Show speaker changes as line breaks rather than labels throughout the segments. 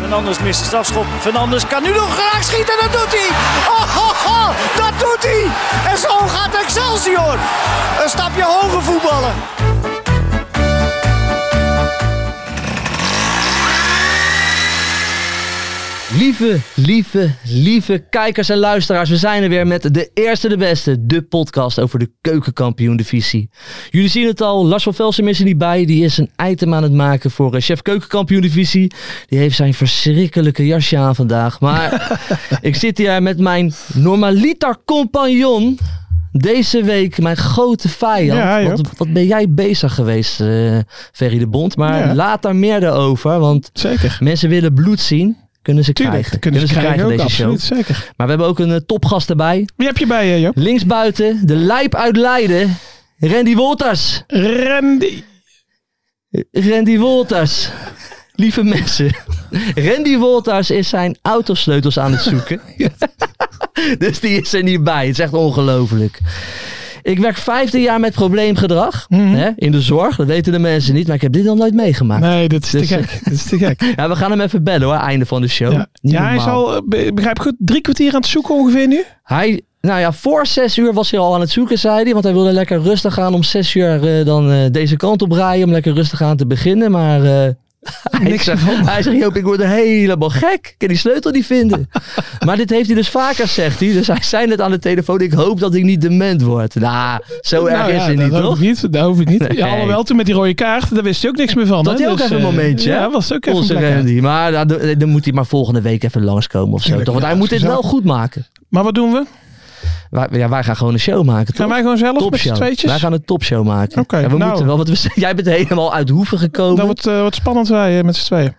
Fernandes mist de strafschop. Fernandes kan nu nog graag schieten. Dat doet hij. Oh, oh, oh, dat doet hij. En zo gaat Excelsior. Een stapje hoger voetballen.
Lieve, lieve, lieve kijkers en luisteraars, we zijn er weer met de eerste de beste, de podcast over de keukenkampioen divisie. Jullie zien het al, Lars van Velsen is er niet bij, die is een item aan het maken voor eh, chef keukenkampioen divisie. Die heeft zijn verschrikkelijke jasje aan vandaag, maar ik zit hier met mijn normaliter compagnon deze week, mijn grote vijand.
Ja, Joop.
wat, wat ben jij bezig geweest, eh Ferry de Bond, maar
Ja.
laat daar meer over, want...
Zeker.
Mensen willen bloed zien. Kunnen ze
Tuurlijk,
krijgen.
dat kunnen ze krijgen, ook,
deze
absoluut,
show.
zeker.
Maar we hebben ook een eh, topgast erbij.
Wie heb je bij
eh,
je, Joop?
Linksbuiten, de lijp uit Leiden. Randy Wolters.
Randy.
Randy Wolters. Lieve mensen. Randy Wolters is zijn autosleutels aan het zoeken. dus die is er niet bij. Het is echt ongelooflijk. Ik werk vijfde jaar met probleemgedrag. hè, in de zorg. Dat weten de mensen niet. Maar ik heb dit nog nooit meegemaakt.
Mhm. Nee, dat is
Dus-
te gek. Dat is te gek.
Ja, we gaan hem even bellen hoor. Einde van de show.
Ja,
Niet
ja hij is
normaal.
al, eh, be- begrijp ik goed, drie kwartier aan het zoeken ongeveer nu?
Hij, nou ja, voor zes uur was hij al aan het zoeken, zei hij. Want hij wilde lekker rustig gaan om zes uur eh, dan eh, deze kant op rijden. Om lekker rustig aan te beginnen. Maar eh, hij,
Niks
zegt,
gevonden.
hij zegt, Joop, ik word helemaal gek. Ik kan die sleutel niet vinden. maar dit heeft hij dus vaker, zegt hij. Dus hij zei net aan de telefoon, ik hoop dat ik niet dement word. Nou, zo erg
Nou
is
ja,
het
dat
niet,
hoop
toch?
ik niet, dat hoef ik niet.
Nee.
Ja, alhoewel, toen met die rode kaart, daar wist hij ook niks meer van.
Dat
hè?
hij ook
Dus,
even een
eh,
momentje. hè?
Ja, was ook even
Onze
een plek aan.
Randy. Maar nou, dan- dan moet hij maar volgende week even langskomen of zo.
Tuurlijk,
toch? Want
ja,
hij moet dit wel
gezellig.
goed maken.
Maar wat doen we?
Wij, ja, wij gaan gewoon een show maken, toch?
Gaan wij gewoon zelf met z'n
topshow.
tweetjes?
Wij gaan een topshow maken.
Oké,
Ja, we
nou.
moeten wel, want we, jij bent helemaal uit hoeven gekomen.
Dat wordt, eh, wordt spannend wij eh, met z'n tweeën.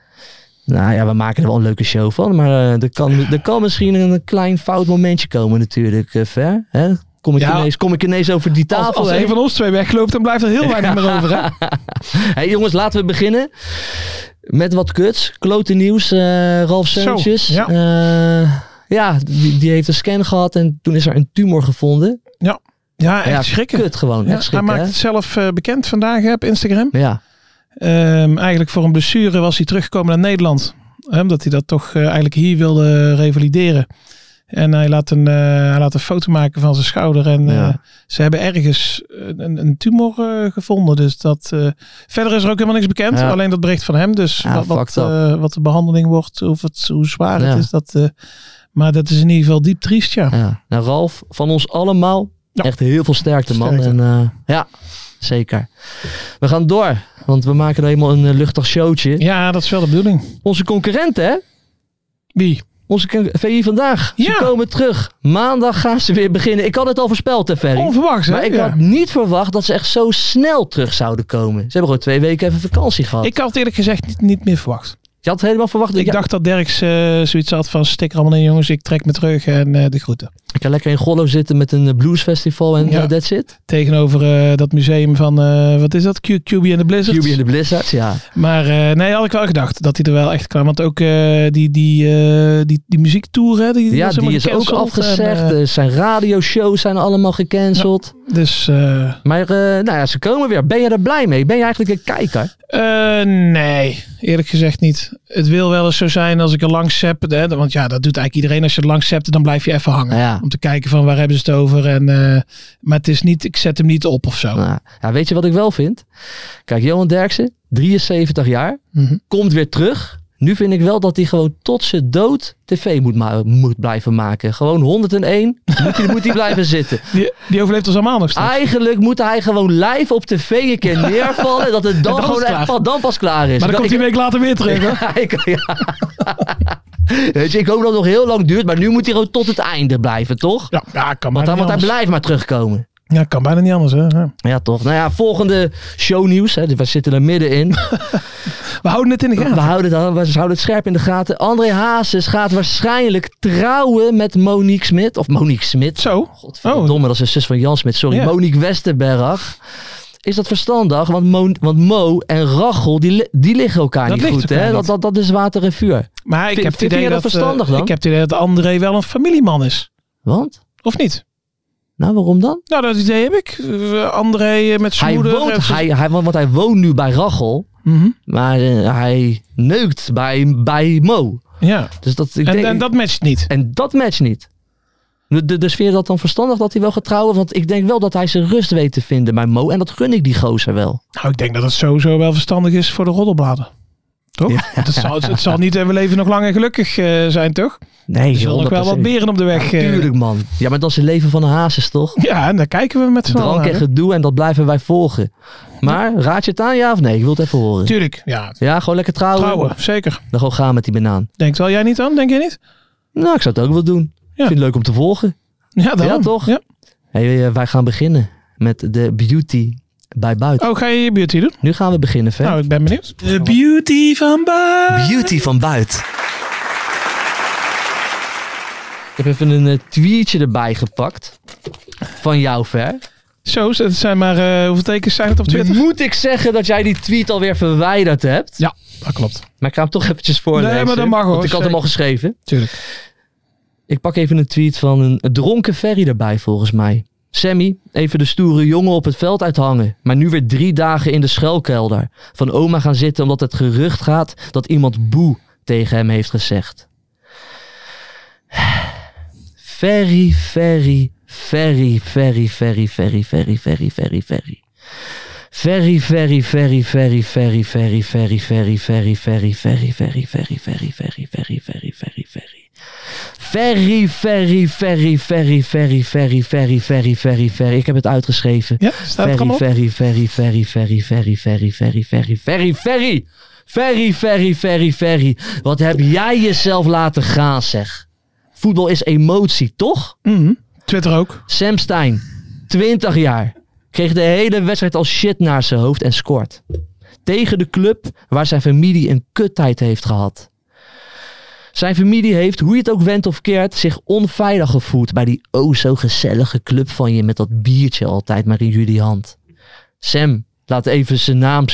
Nou ja, we maken er wel een leuke show van. Maar eh, er, kan, er kan misschien een klein fout momentje komen natuurlijk, eh, Fer. Hè? Kom, ik
Ja.
ineens, kom ik ineens over die tafel
Als, als
heen?
een van ons twee wegloopt, dan blijft er heel weinig meer over. Hè?
hey, jongens, laten we beginnen met wat kuts. Klote nieuws. eh, Ralf
Zo,
Seuntjes.
ja.
eh, ja, die, die heeft een scan gehad en toen is er een tumor gevonden.
Ja, echt
ja,
schrikken.
Kut gewoon,
Ja,
echt schrikken.
hij maakt
hè?
het zelf eh, bekend vandaag hè, op Instagram.
Ja,
Ehm, eigenlijk voor een blessure was hij teruggekomen naar Nederland. Hè, omdat hij dat toch eh, eigenlijk hier wilde revalideren. En hij laat, een, eh, hij laat een foto maken van zijn schouder. En
Ja.
eh, ze hebben ergens een, een- een tumor eh, gevonden. Dus dat, eh, verder is er ook helemaal niks bekend.
Ja.
Alleen dat bericht van hem. Dus
Ja,
wat, wat,
fucked up.
eh, wat de behandeling wordt, of het, hoe zwaar
Ja.
het is. Dat, eh, maar dat is in ieder geval diep triest, ja.
Ja. Nou, Ralf, van ons allemaal
Ja.
echt heel veel sterkte, man.
Sterkte.
En, eh, ja, zeker. We gaan door, want we maken er helemaal een eh, luchtig showtje.
Ja, dat is wel de bedoeling.
Onze concurrenten, hè?
Wie?
Onze con- VI vandaag. Ze
Ja.
komen terug. Maandag gaan ze weer beginnen. Ik had het al voorspeld, hè, Ferry?
Onverwachts, hè?
Maar ik
Ja.
had niet verwacht dat ze echt zo snel terug zouden komen. Ze hebben gewoon twee weken even vakantie gehad.
ik had het eerlijk gezegd niet, niet meer verwacht.
Je had helemaal verwacht. dat
Ik
ja,
dacht dat Derks eh, zoiets had van stik er allemaal in jongens, ik trek me terug en eh, de groeten.
ik kan lekker in Gollo zitten met een eh, bluesfestival en
Ja. Dus
eh, that's it.
Tegenover eh, dat museum van, eh, wat is dat, Q, QB en de Blizzard.
QB in de Blizzards, ja.
Maar eh, nee, had ik wel gedacht dat hij er wel echt kwam. Want ook eh, die, die, eh die, die muziektour, hè, die,
Ja,
was
die
helemaal
is ook
gecanceld.
afgezegd.
En, eh,
eh, zijn radioshows zijn allemaal gecanceld.
dus eh,
Maar eh, nou ja, ze komen weer. Ben je er blij mee? Ben je eigenlijk een kijker?
eh, nee, eerlijk gezegd niet. Het wil wel eens zo zijn als ik er langs zap, hè, want ja, dat doet eigenlijk iedereen. Als je er langs zapt, dan blijf je even hangen.
Nou ja.
Om te kijken van waar hebben ze het over. En, eh, maar het is niet, ik zet hem niet op of zo.
Nou, ja, weet je wat ik wel vind? Kijk, Johan Derksen, 73 jaar,
Mhm.
komt weer terug. Nu vind ik wel dat hij gewoon tot zijn dood tv moet, ma- moet blijven maken. Gewoon 101 moet hij, moet hij blijven zitten.
Die, die overleeft ons allemaal nog
Ah,
steeds.
Eigenlijk moet hij gewoon live op tv een keer neervallen. Dat het dan,
dan is
gewoon
het
echt
klaar.
pas, dan pas klaar is.
maar dan
dus Ik-
komt hij een week later weer terug. hoor.
ja, ik, ja. Weet je, ik hoop dat het nog heel lang duurt, maar nu moet hij gewoon tot het einde blijven, toch?
Ja, ja,
Want,
kan bijna
hij,
niet
want hij
anders.
blijft maar terugkomen.
Ja, kan bijna niet anders. Hè? Ja.
Ja, toch. Nou ja, volgende shownieuws. Hè, we zitten er middenin.
We houden het in de gaten.
We houden, het, we houden het scherp in de gaten. André Hazes gaat waarschijnlijk trouwen met Monique Smit. Of Monique Smit.
Zo.
Godverdomme, dat is een zus van Jan Smit. Sorry,
Oh. Ja.
Monique Westerberg. Is dat verstandig? Want Mo, want Mo en Rachel, die, li- die liggen elkaar
Dat
niet
ligt
goed.
elkaar
Hè? Dat,
niet.
dat, dat is water en vuur.
Maar ik
Vind-
heb het
vind
idee
jij dat
dat, eh,
verstandig dan?
ik heb het idee dat André wel een familieman is.
Want?
Of niet?
Nou, waarom dan?
Nou, dat idee heb ik. Eh, André eh, met zijn
Hij
moeder. en
woont,
zijn-
hij, hij, want want hij woont nu bij Rachel,
Mhm.
maar eh, hij neukt bij, bij Mo.
Ja.
Dus dat, ik
En,
denk,
en dat matcht niet.
en dat matcht niet. De- de- Dus vind je dat dan verstandig dat hij wel gaat trouwen? Want ik denk wel dat hij zijn rust weet te vinden bij Mo. En dat gun ik die gozer wel.
Nou, ik denk dat het sowieso wel verstandig is voor de roddelbladen. Toch? Want het, zal, het zal niet eh, we leven nog lang en gelukkig eh, zijn, toch?
Nee,
Er zullen nog wel wat beren op de weg. eh.
Tuurlijk man. Ja, maar dat is het leven van een hazes toch?
Ja, en daar kijken we met z'n allen
Drank
naar.
en
hè?
gedoe en dat blijven wij volgen. Maar raad je het aan ja of nee? Ik wil het even horen.
Tuurlijk, ja.
Ja, gewoon lekker trouwen.
Trouwen, zeker.
Dan gewoon gaan met die banaan.
Denkt wel jij niet aan, denk je niet?
Nou, ik zou het ook wel doen. Ik vind het leuk om te volgen.
Ja, dan.
Ja, toch?
Ja.
Hey, eh, wij gaan beginnen met de beauty bij buiten.
Oh, ga je je beauty doen?
Nu gaan we beginnen, Fer.
Nou, ik ben benieuwd. De beauty van Baar.
beauty van buiten. Ik heb even een eh, tweetje erbij gepakt. Van jou, Fer.
Zo, het zijn maar, eh, hoeveel tekens zijn het op Twitter?
Moet ik zeggen dat jij die tweet alweer verwijderd hebt?
Ja, dat Mm-hmm. Ah, klopt.
Maar ik ga hem toch eventjes voorlezen.
Nee, maar dat mag, hoor.
Want ik had hem
Zeker.
al geschreven.
Tuurlijk.
Ik pak even een tweet van een dronken ferry erbij, volgens mij. Sammy, even de stoere jongen op het veld uithangen. Maar nu weer drie dagen in de schuilkelder. Van oma gaan zitten omdat het gerucht gaat dat iemand boe tegen hem heeft gezegd. Ferry, ferry, ferry, ferry, ferry, ferry, ferry, ferry, ferry, ferry. Ferry, ferry, ferry, ferry, ferry, ferry, ferry, ferry, ferry, ferry, ferry, ferry, ferry, ferry, ferry, ferry, ferry, ferry, ferry. Ferry, ferry, ferry, ferry, ferry, ferry, ferry, ferry, ferry, ferry. Ik heb het uitgeschreven.
Ja, staat er
Ferry,
allemaal op?
ferry, ferry, ferry, ferry, ferry, ferry, ferry, ferry, ferry, ferry. Ferry, ferry, ferry, ferry. Wat heb jij jezelf laten gaan, zeg. Voetbal is emotie, toch?
Mhm. Twitter ook.
Sam Stein, 20 jaar, kreeg de hele wedstrijd als shit naar zijn hoofd en scoort. Tegen de club waar zijn familie een kuttijd heeft gehad. Zijn familie heeft, hoe je het ook wendt of keert, zich onveilig gevoeld bij die o zo gezellige club van je met dat biertje altijd maar in jullie hand. Sam laat even zijn, naam,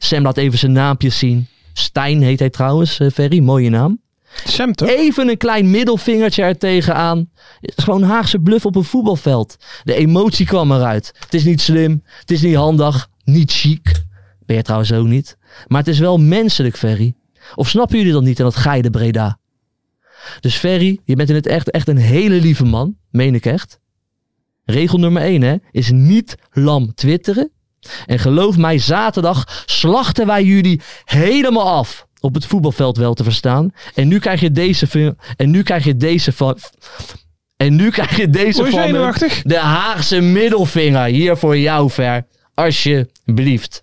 Sam laat even zijn naampje zien. Stijn heet hij trouwens, eh, Ferry, mooie naam.
Sam toch?
Even een klein middelvingertje er tegenaan. Het is gewoon Haagse bluff op een voetbalveld. De emotie kwam eruit. Het is niet slim, het is niet handig, niet chic. Ben je trouwens ook niet. Maar het is wel menselijk, Ferry. Of snappen jullie dat niet en dat geide Breda? Dus Ferry, je bent in het echt echt een hele lieve man. Meen ik echt. Regel nummer 1 hè, is niet lam twitteren. En geloof mij, zaterdag slachten wij jullie helemaal af. Op het voetbalveld wel te verstaan. En nu krijg je deze film. En nu krijg je deze van. En nu krijg je deze
Word je
van. me.
zenuwachtig?
De Haagse middelvinger. Hier voor jou, Ver. Alsjeblieft.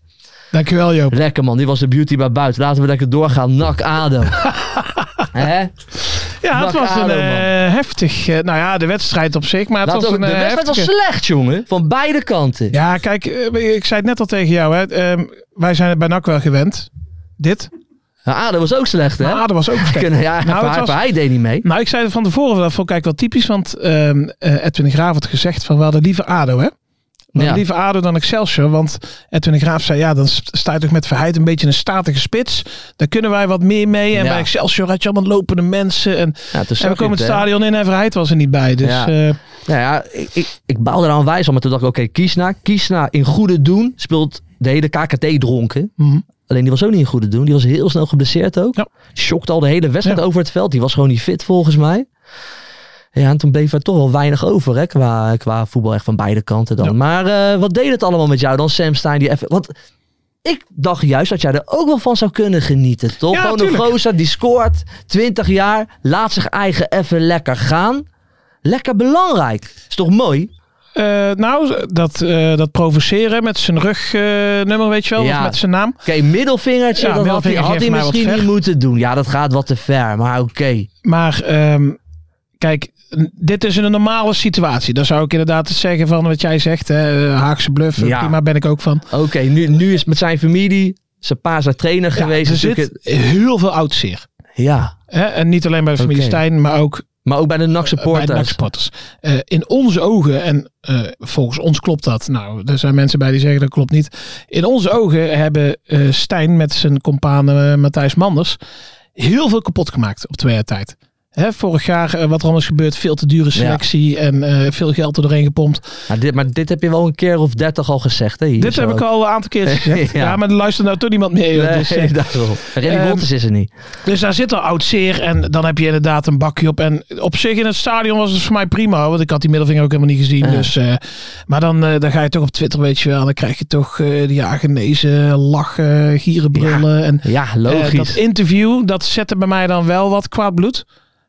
Dankjewel Joop.
Lekker man, dit was de beauty bij buiten. Laten we lekker doorgaan. Nak adem. Hè?
Ja,
Dak
het was een
Adem,
eh, heftig, eh, nou ja, de wedstrijd op zich, maar het
Laat
was
ook,
een
de
eh,
wedstrijd was
heftige-
slecht, jongen. Van beide kanten.
Ja, kijk, eh, ik zei het net al tegen jou, hè. ehm, wij zijn het bij NAC wel gewend. Dit.
Nou, Adem was ook slecht, hè?
Maar Adem Ah, was ook gek.
Kunnen- ja,
Nou,
maar
het
hij-
was-
maar hij deed niet mee.
Nou, ik zei van tevoren wel, dat vond ik eigenlijk wel typisch, want ehm, eh, Edwin de Graaf had gezegd van, we hadden liever ADO, hè. We hadden
Ja.
liever Nou, ADO dan Excelsior, want Edwin de Graaf zei, ja, dan st- sta je toch met Verheid een beetje een statige spits. Daar kunnen wij wat meer mee. En
Ja.
bij Excelsior had je allemaal lopende mensen. En,
Ja, toen
en
zag
we
ik
komen
het,
het
hè.
stadion in en Verheid was er niet bij. Dus
Ja.
eh,
Nou ja, ik, ik, ik baalde er aan wijs van, maar toen dacht ik, oké, Kiesna. Kiesna in goede doen speelt de hele KKT dronken.
Mhm.
Alleen die was ook niet in goede doen. Die was heel snel geblesseerd ook.
Ja.
Shockte al de hele wedstrijd
Ja.
over het veld. Die was gewoon niet fit volgens mij. Ja, en toen bleef er toch wel weinig over hè, qua, qua voetbal echt van beide kanten dan.
Ja.
Maar eh, wat deed het allemaal met jou dan, Sam Stein? Die even, want Ik dacht juist dat jij er ook wel van zou kunnen genieten, toch?
Ja,
Gewoon een
tuurlijk.
gozer die scoort, 20 jaar, laat zich eigen even lekker gaan. Lekker belangrijk. Is toch mooi?
Eh, nou, dat, eh, dat provoceren met zijn rugnummer, nummer weet je wel,
Ja.
of met zijn naam.
Oké, middelvingertje,
Ja,
dat had hij,
middelvingertje
had hij
heeft mij wat
misschien
ver.
niet moeten doen. Ja, dat gaat wat te ver, maar oké.
Maar ehm, kijk, n- dit is een normale situatie. Dan zou ik inderdaad het zeggen van wat jij zegt, hè, eh, Haagse bluff,
Ja.
prima ben ik ook van.
Oké, nu, nu is het met zijn familie, zijn pa is daar trainer
Ja,
geweest.
er
natuurlijk
zit heel veel oud zeer.
het- ja,
Hè? En niet alleen bij de familie
Oké.
Stijn, maar ook
maar ook bij de NAC
bij de
supporters.
NAC-supporters. Eh, in onze ogen, en eh, volgens ons klopt dat. Nou, er zijn mensen bij die zeggen dat klopt niet. In onze ogen hebben eh, Stijn met zijn compaan eh, Matthijs Manders heel veel kapot gemaakt op twee jaar tijd. Hè, vorig jaar, eh, wat er allemaal is gebeurd, veel te dure selectie en eh, veel geld er doorheen gepompt.
Maar dit, maar dit heb je wel een keer of dertig al gezegd, hè? hier
Dit
zo
heb
ook.
ik al een aantal keer gezegd.
Ja.
ja. maar er luistert nou toch niemand meer. joh. Dus, eh,
Nee, daarom. Reddy
Ehm,
Wolters is er niet.
Dus daar zit al oud zeer en dan heb je inderdaad een bakje op. En op zich in het stadion was het voor mij prima, hoor, want ik had die middelvinger ook helemaal niet gezien.
Ja.
Dus, eh, maar dan, eh, dan ga je toch op Twitter, weet je wel, dan krijg je toch eh die ja, genezen, lachen, gierenbrullen. En,
Ja,
eh,
logisch.
dat interview, dat zette bij mij dan wel wat kwaad bloed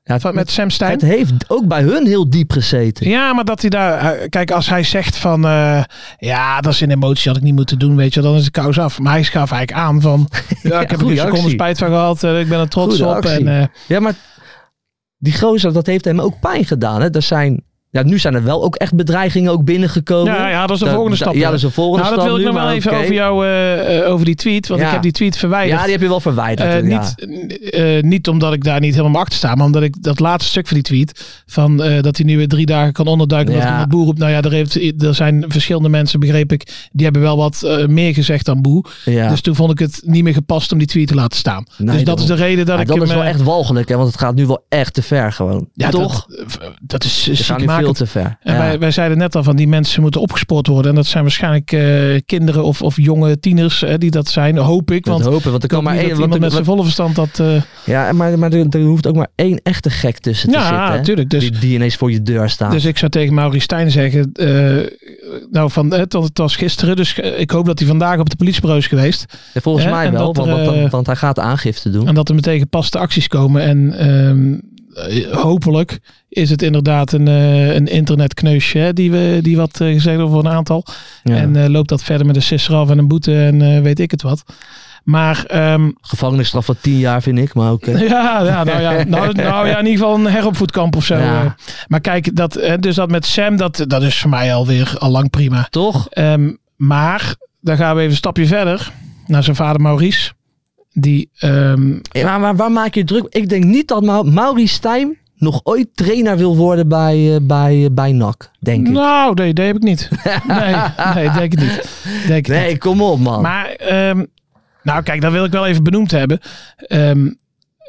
Ja, het-
van- met Sam Stein.
het heeft ook bij hun heel diep gezeten.
Ja, maar dat hij daar. eh, Kijk, als hij zegt van. eh, ja, dat is een emotie, had ik niet moeten doen, weet je, wel, dan is de kous af. Maar hij gaf eigenlijk aan van. Ja, ik heb er
goeie
een seconde
actie.
spijt van gehad, eh, ik ben er trots
Goede
op.
actie.
En, eh,
Ja, maar die gozer, dat heeft hem ook pijn gedaan. Hè? Er zijn, ja, nu zijn er wel ook echt bedreigingen ook binnengekomen.
ja, ja, dat is de volgende stap.
Ja,
hè.
dat is de volgende
Nou, dat
stap
wil ik
nu,
nog wel
maar
even
oké.
over jou, eh, eh, over die tweet. Want
Ja.
ik heb die tweet verwijderd.
Ja, die heb je wel verwijderd.
Eh,
ja.
niet, eh, niet omdat ik daar niet helemaal mee achter sta, maar omdat ik dat laatste stuk van die tweet, van eh, dat hij nu weer drie dagen kan onderduiken omdat
Ja.
iemand boer roept. Nou ja, er, heeft, er zijn verschillende mensen, begreep ik, die hebben wel wat eh, meer gezegd dan boe.
ja.
Dus toen vond ik het niet meer gepast om die tweet te laten staan.
Nee,
dus dat
daarom.
is de reden dat
Maar
ik
dat
hem...
is wel
eh,
echt walgelijk, hè, want het gaat nu wel echt te ver gewoon.
ja,
Toch?
Dat, dat is
Ze gaan nu veel
ziekmakend.
te ver.
En
Ja.
wij, wij zeiden net al van die mensen moeten opgespoord worden. En dat zijn waarschijnlijk eh, kinderen of, of jonge tieners eh, die dat zijn, hoop ik.
Dat
Want
hopen, want er
Ik
kan
hoop
maar
niet
één.
dat iemand
want er-
met zijn volle verstand dat... eh,
Ja, maar, maar er, er hoeft ook maar één echte gek tussen te
Ja,
zitten. hè,
tuurlijk, dus-
die, die ineens voor je deur staat.
Dus ik zou tegen Maurice Stijn zeggen... eh, nou, van, het, het was gisteren, dus eh, ik hoop dat hij vandaag op de politiebureau is geweest.
Ja, volgens
Hè,
mij
en
wel,
dat
want,
er,
want,
eh,
want, want hij gaat aangifte doen.
En dat er meteen gepaste acties komen. En ehm, eh, hopelijk is het inderdaad een, eh, een internetkneusje hè, die, we, die wat eh, gezegd over een aantal.
Ja.
En eh, loopt dat verder met een sisser af en een boete en eh, weet ik het wat. Maar ehm,
Gevangenisstraf van tien jaar vind ik, maar eh, oké.
Ja, ja, nou ja, nou, nou ja, in ieder geval een heropvoedkamp of zo.
Ja.
Eh, Maar kijk, dat, eh, dus dat met Sam, dat, dat is voor mij alweer al lang prima.
Toch?
Ehm, maar dan gaan we even een stapje verder naar zijn vader Maurice. Die, ehm,
Ja, maar, maar waar maak je je druk? Ik denk niet dat Mau Mauri Stijn nog ooit trainer wil worden bij, eh, bij, eh, bij NAC, denk ik.
nou, nee, dat heb ik niet. Nee, nee denk ik niet. Denk ik niet.
nee, kom op man.
Maar, ehm, nou kijk, dat wil ik wel even benoemd hebben. Ehm,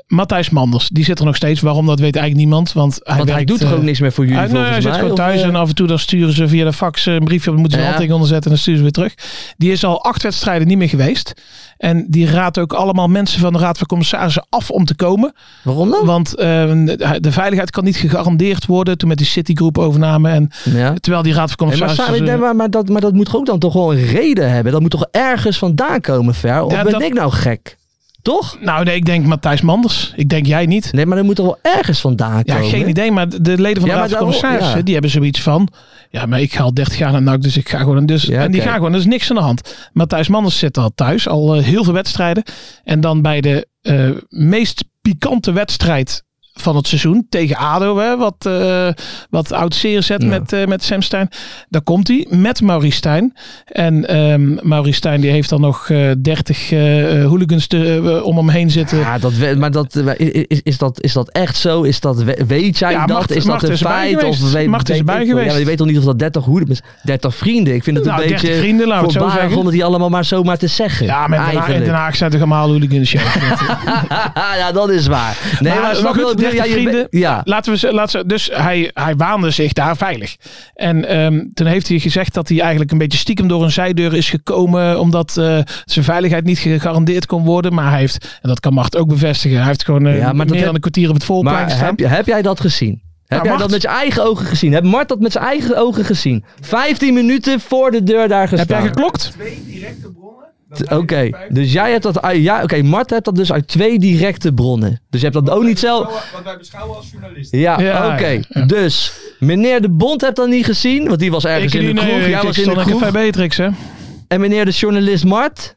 Matthijs Manders, die zit er nog steeds. Waarom, dat weet eigenlijk niemand. Want hij,
want hij
werkt,
doet er
eh,
ook niks meer voor jullie
Ah, nee,
volgens
hij zit
mij,
gewoon
of,
thuis
eh,
en af en toe dan sturen ze via de fax eh, een briefje. Dan moeten ze
Ja.
een handtekening onderzetten en dan sturen ze weer terug. Die is al acht wedstrijden niet meer geweest. En die raadt ook allemaal mensen van de Raad van Commissarissen af om te komen.
Waarom dan?
Want eh, de veiligheid kan niet gegarandeerd worden. Toen met die Citigroep overname. En
Ja.
terwijl die Raad van
Hey, maar,
Commissarissen... dus-
Sarri, nee, maar, maar dat, maar dat moet toch ook dan toch wel een reden hebben. Dat moet toch ergens vandaan komen, Ver? Of
Ja,
ben
dat-
ik nou gek? Toch?
Nou nee, ik denk Matthijs Manders. Ik denk jij niet.
Nee, maar dat moet toch wel ergens vandaan
Ja,
komen?
geen idee. Maar de leden van de
Ja,
Raad van
maar daarom-
Commissarissen,
ja.
die hebben zoiets van... Ja, maar ik ga al 30 jaar naar NAC, dus ik ga gewoon... Dus,
Ja,
en die
oké.
gaan gewoon, er is niks aan de hand. Matthijs Manders zit al thuis, al eh, heel veel wedstrijden. En dan bij de eh, meest pikante wedstrijd van het seizoen tegen ADO, hè, wat, eh wat oud zeer zet
Ja.
met, eh met Sam Stein. Daar komt hij, met Maurice Stijn. En ehm Maurice Stijn die heeft dan nog eh 30 eh, eh, hooligans te- eh, om hem heen zitten.
Ja, dat we, maar dat, eh, is, is, dat, is dat echt zo? Is dat, we- weet jij
Ja,
dat?
Mart-
is dat
Mart
een
is erbij
feit?
geweest.
Of weet,
Mart is
weet
erbij
ik veel. Ja,
geweest.
maar je weet toch niet of dat 30 hoeden 30 vrienden. Ik vind het
Nou,
een
30
beetje
vrienden, laten we het zo
voorbarig
zeggen.
om het die allemaal maar zomaar te zeggen.
Ja, maar in Den Haag- in
eigenlijk.
Den Haag zijn er allemaal hooligans. ja.
ja, dat is waar. Nee,
Maar-
maar,
maar
snap je
goed,
wat ik bedoel?
30
Ja, je bent-
vrienden.
Ja,
Laten we, ze- laten we, dus hij, hij waande zich daar veilig. En ehm, toen heeft hij gezegd dat hij eigenlijk een beetje stiekem door een zijdeur is gekomen. Omdat eh, zijn veiligheid niet gegarandeerd kon worden. Maar hij heeft, en dat kan Mart ook bevestigen, hij heeft gewoon eh,
Ja, maar dat
meer
heb-
dan een kwartier op het volplein
maar
gestaan.
heb, je- heb jij dat gezien? Heb jij
Mart-
dat met je eigen ogen gezien? Heb Mart dat met zijn eigen ogen gezien? 15 minuten voor de deur daar
Heb
gestaan.
jij geklokt?
twee directe bronnen
T- Oké, dus jij hebt dat. uit- Ja, Oké, Mart hebt dat dus uit twee directe bronnen. Dus je hebt dat ook niet zelf.
Wat wij beschouwen als journalisten.
Ja,
Ja,
oké.
ja, ja.
Dus meneer de Bond hebt dat niet gezien, want die was ergens in de
die-
kroeg.
nee,
jij
ik
was in de
stond in
kroeg.
Café Beatrix, hè?
En meneer de journalist Mart,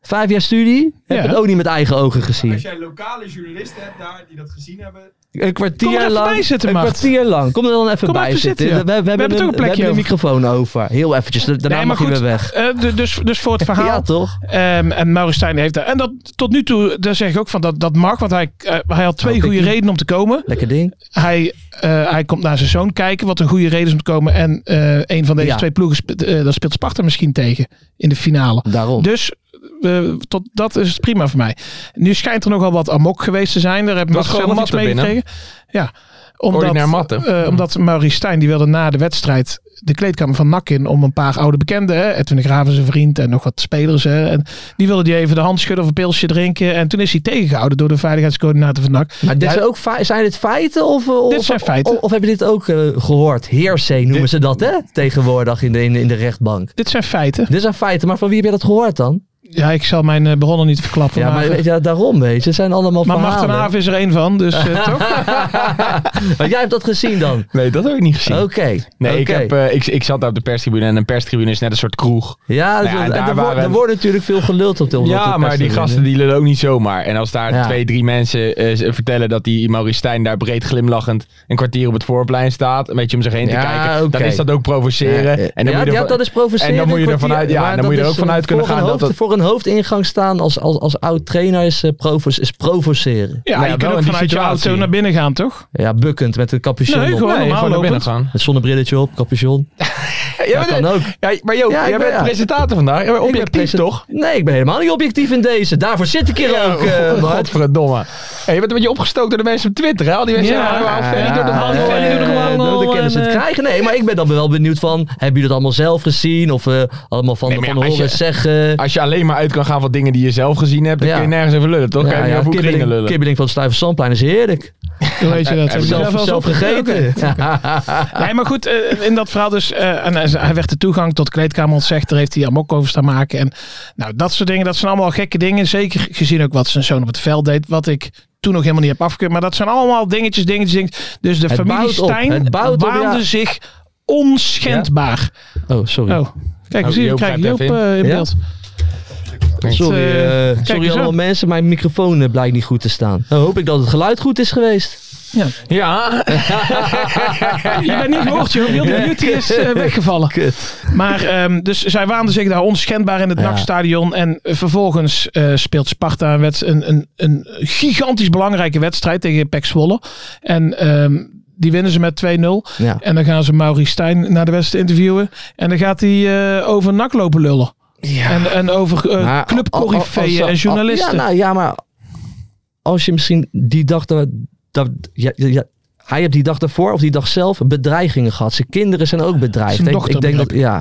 vijf jaar studie, heb
Ja.
het ook niet met eigen ogen
Als
gezien.
jij lokale journalisten hebt daar die dat gezien hebben.
Een
Kom er
kwartier
even
lang.
bij zitten,
een
Mart.
kwartier lang. Kom er dan even
Kom
bij
even
zitten.
zitten, ja.
We- We, we, hebben
toch een
we
plekje
hebben de
over.
microfoon over. Heel eventjes. da- Daarna
Nee, maar
mag je
goed.
weer weg.
Eh, du- dus, dus voor het verhaal.
Ja, toch?
Ehm, en Mauristijn heeft daar. En dat tot nu toe, daar zeg ik ook van, dat, dat mag. Want hij, eh, hij had twee
Oh,
goede
pikkie.
redenen om te komen.
Lekker ding.
Hij, eh, hij komt naar zijn zoon kijken, wat een goede reden is om te komen. En eh, een van deze
Ja.
twee ploegen, spe- eh, daar speelt Sparta misschien tegen in de finale.
Daarom.
Dus eh, tot, dat is het prima voor mij. Nu schijnt er nogal wat amok geweest te zijn. Daar heb
Was
Marcel
gewoon
nog iets mee
matten
gekregen. Ja, omdat,
Ordinair matten.
eh, omdat Maurice Stijn die wilde na de wedstrijd de kleedkamer van NAC in om een paar oude bekenden, hè, Edwin de Graven zijn vriend en nog wat spelers. Hè, en die wilde die even de hand schudden of een pilsje drinken. En toen is hij tegengehouden door de veiligheidscoördinator van Dus NAC.
maar dit
Ja,
zijn, ook fe- zijn dit feiten? Of, eh, of,
zijn feiten.
Of, of heb je dit ook eh, gehoord? Heersee noemen ze dat, hè? Tegenwoordig in de, in, de- in de rechtbank.
dit zijn feiten.
Dit zijn feiten, maar van wie heb je dat gehoord dan?
Ja, ik zal mijn eh, bronnen niet verklappen.
Ja, maar
maar eh,
weet je, daarom, weet je. Het zijn allemaal
maar Marten
verhalen.
Haaf is er één van, dus eh, toch?
Maar jij hebt dat gezien dan?
Nee, dat heb ik niet gezien.
Oké.
Nee, ik,
oké.
heb, eh, ik, ik zat daar op de perstribune en een perstribune is net een soort kroeg.
Ja, dus
Nou ja,
er,
daar
er wordt,
waren-
er wordt natuurlijk veel geluld op de op de
Ja, maar die
perstribune.
gasten die lullen ook niet zomaar. En als daar
Ja.
twee, drie mensen eh, z- vertellen dat die Maurice Stijn daar breed glimlachend een kwartier op het voorplein staat, een beetje om zich heen te
Ja,
kijken,
oké.
dan is dat ook provoceren.
Ja,
En
ja,
dan moet
ja,
je ervan-
dat is provoceren.
en dan moet je er vanuit- ja,
maar
en dan
dat
moet je er
is
ook vanuit
een-
kunnen
voor
gaan
een
dat
hoofd-
het-
Voor een hoofdingang staan als, als, als oud trainer is, eh, provo- is provoceren.
Ja,
Nou ja,
je
wel
kunt ook
in die
vanuit je
situatie.
auto naar binnen gaan, toch?
Ja, bukkend met een capuchon
Nee,
op.
gewoon
Nee,
normaal
gewoon naar binnen
lopend.
gaan.
Met zonnebrilletje op, capuchon.
Ja,
Dat
maar
kan ook.
Ja, maar Joop,
Ja, ik
jij
ben-
bent
ja.
presentator vandaag. Jij bent
Ik ben
objectief,
presen-
toch?
Nee, ik ben helemaal niet objectief in deze. Daarvoor zit ik hier ook, eh,
Oh,
Mart.
Godverdomme. Hey, je bent een beetje opgestookt door de mensen op Twitter, hè? Al die mensen,
Ja,
ja, nou,
ja,
Ferry doet het al,
die
Ferry
Ferry
doet
doet hem
het al.
al.
eh,
allemaal
Dan kunnen ze het
en, eh,
krijgen. Nee, maar ik ben dan wel benieuwd van... Hebben jullie het allemaal zelf gezien? Of eh, allemaal van,
Nee, maar
van
ja, als
horen
je-
zeggen?
Als je alleen maar uit kan gaan van dingen die je zelf gezien hebt, dan
Ja.
kun je nergens over lullen, toch?
Ja,
kan je niet
ja,
over Oekraïne
kibbeling,
lullen.
kibbeling van het Stuyven Sandplein is heerlijk.
Hoe weet je dat?
Heb
Heb je
Zelf,
wel eens
zelf,
opgegeven?
gegeten.
Nee, maar goed, eh, in dat verhaal dus. eh, en hij- hij werd de toegang tot de kleedkamer ontzegd. Daar heeft hij amok over staan maken. En nou, dat soort dingen, dat zijn allemaal gekke dingen. Zeker gezien ook wat zijn zoon op het veld deed. Wat ik toen nog helemaal niet heb afgekeurd. Maar dat zijn allemaal dingetjes, dingetjes, dingetjes. Dus de
Het
familie
bouwt op,
Stijn
het bouwt op,
waande
ja.
zich onschendbaar.
Oh, sorry.
Oh, kijk,
Oh,
zie je,
Joop
krijg je Joop
grijpt even in.
eh, in
Ja?
beeld.
sorry
eh,
eh,
kijk
sorry
eens
allemaal
aan.
mensen, mijn microfoon eh, blijkt niet goed te staan. Dan hoop ik dat het geluid goed is geweest.
Ja,
Je bent niet gehoord, joh. Wilde Beauty is eh, weggevallen. Maar ehm, dus zij waanden zich daar onschendbaar in het
Ja.
NAC-stadion. En eh, vervolgens eh, speelt Sparta een, wedst- een, een, een gigantisch belangrijke wedstrijd tegen PEC Zwolle. En ehm, die winnen ze met 2-0.
Ja.
En dan gaan ze Mauri Stijn naar de Westen interviewen. En dan gaat hij eh, over NAC lopen lullen. En, en over eh,
Maar als-
clubcoryfeeën
als-
en
als-
journalisten.
Ja, nou ja, maar als je misschien die dag dat, dat ja, ja, ja, hij heeft die dag daarvoor of die dag zelf bedreigingen gehad. Zijn kinderen zijn ook bedreigd.
Zijn
Ik-
dochter
ik denk dat ja.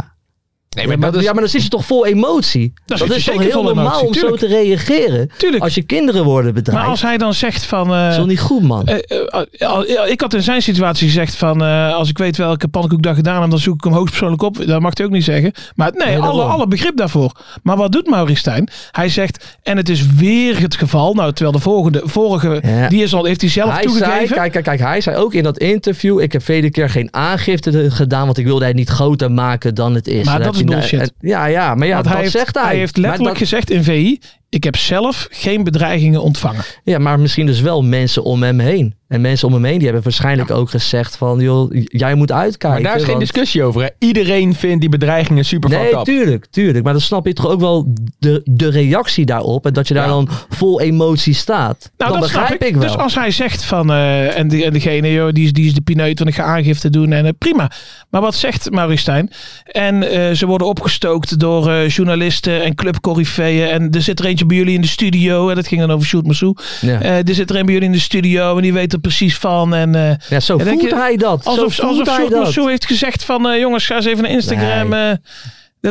nee,
Ja,
maar
maar,
dat is...
ja, maar dan zit je toch vol emotie.
Daar
dat
zit
is
je
toch
zeker
heel
vol
normaal
emotie,
om
tuurlijk.
zo te reageren.
Tuurlijk.
Als je kinderen worden bedreigd.
maar als hij dan zegt van...
dat
eh,
is wel niet goed, man.
Eh, eh, al- ja, ik had in zijn situatie gezegd van eh, als ik weet welke pannenkoek dat gedaan heb, dan zoek ik hem hoogstpersoonlijk op. Dat mag hij ook niet zeggen. Maar nee,
Nee,
alle,
daarom.
alle begrip daarvoor. Maar wat doet Maurice Stijn? Hij zegt, en het is weer het geval. Nou, terwijl de volgende, vorige,
Ja.
die is al, heeft hij zelf
hij
toegegeven.
zei, kijk, kijk, kijk, hij zei ook in dat interview: Ik heb vele keer geen aangifte de- gedaan, want ik wilde het niet groter maken dan het is.
Maar
En heb
dat is
je-
bullshit.
en- Ja, ja, maar ja,
Want
dat
hij heeft,
zegt hij.
hij heeft letterlijk
maar dat-
gezegd in VI, ik heb zelf geen bedreigingen ontvangen.
Ja, maar misschien dus wel mensen om hem heen. En mensen om hem heen die hebben waarschijnlijk ook gezegd: van, joh, j- jij moet uitkijken.
Maar daar is geen
want-
discussie over. Hè? Iedereen vindt die bedreigingen super fucked
Nee,
up.
tuurlijk, tuurlijk. Maar dan snap je toch ook wel de, de reactie daarop. En dat je daar
Ja.
dan vol emotie staat.
Nou,
dan
dat snap
begrijp ik. wel.
Dus als hij zegt van, eh, en, die, en degene, joh, die, is, die is de pineut, want ik ga aangifte doen en eh, prima. Maar wat zegt Maurice Stijn? En eh, ze worden opgestookt door eh, journalisten en clubcoryfeeën. En er zit er eentje bij jullie in de studio. En dat ging dan over Sjoerd Massou.
Ja.
Eh, er zit er een bij jullie in de studio en die weet er precies van. En, eh,
ja, zo
en denk
voelt
je-
hij dat. Zo
alsof
voelt
alsof
hij
Sjoerd
dat.
Massou heeft gezegd van, eh, jongens, ga eens even naar Instagram. eh, dat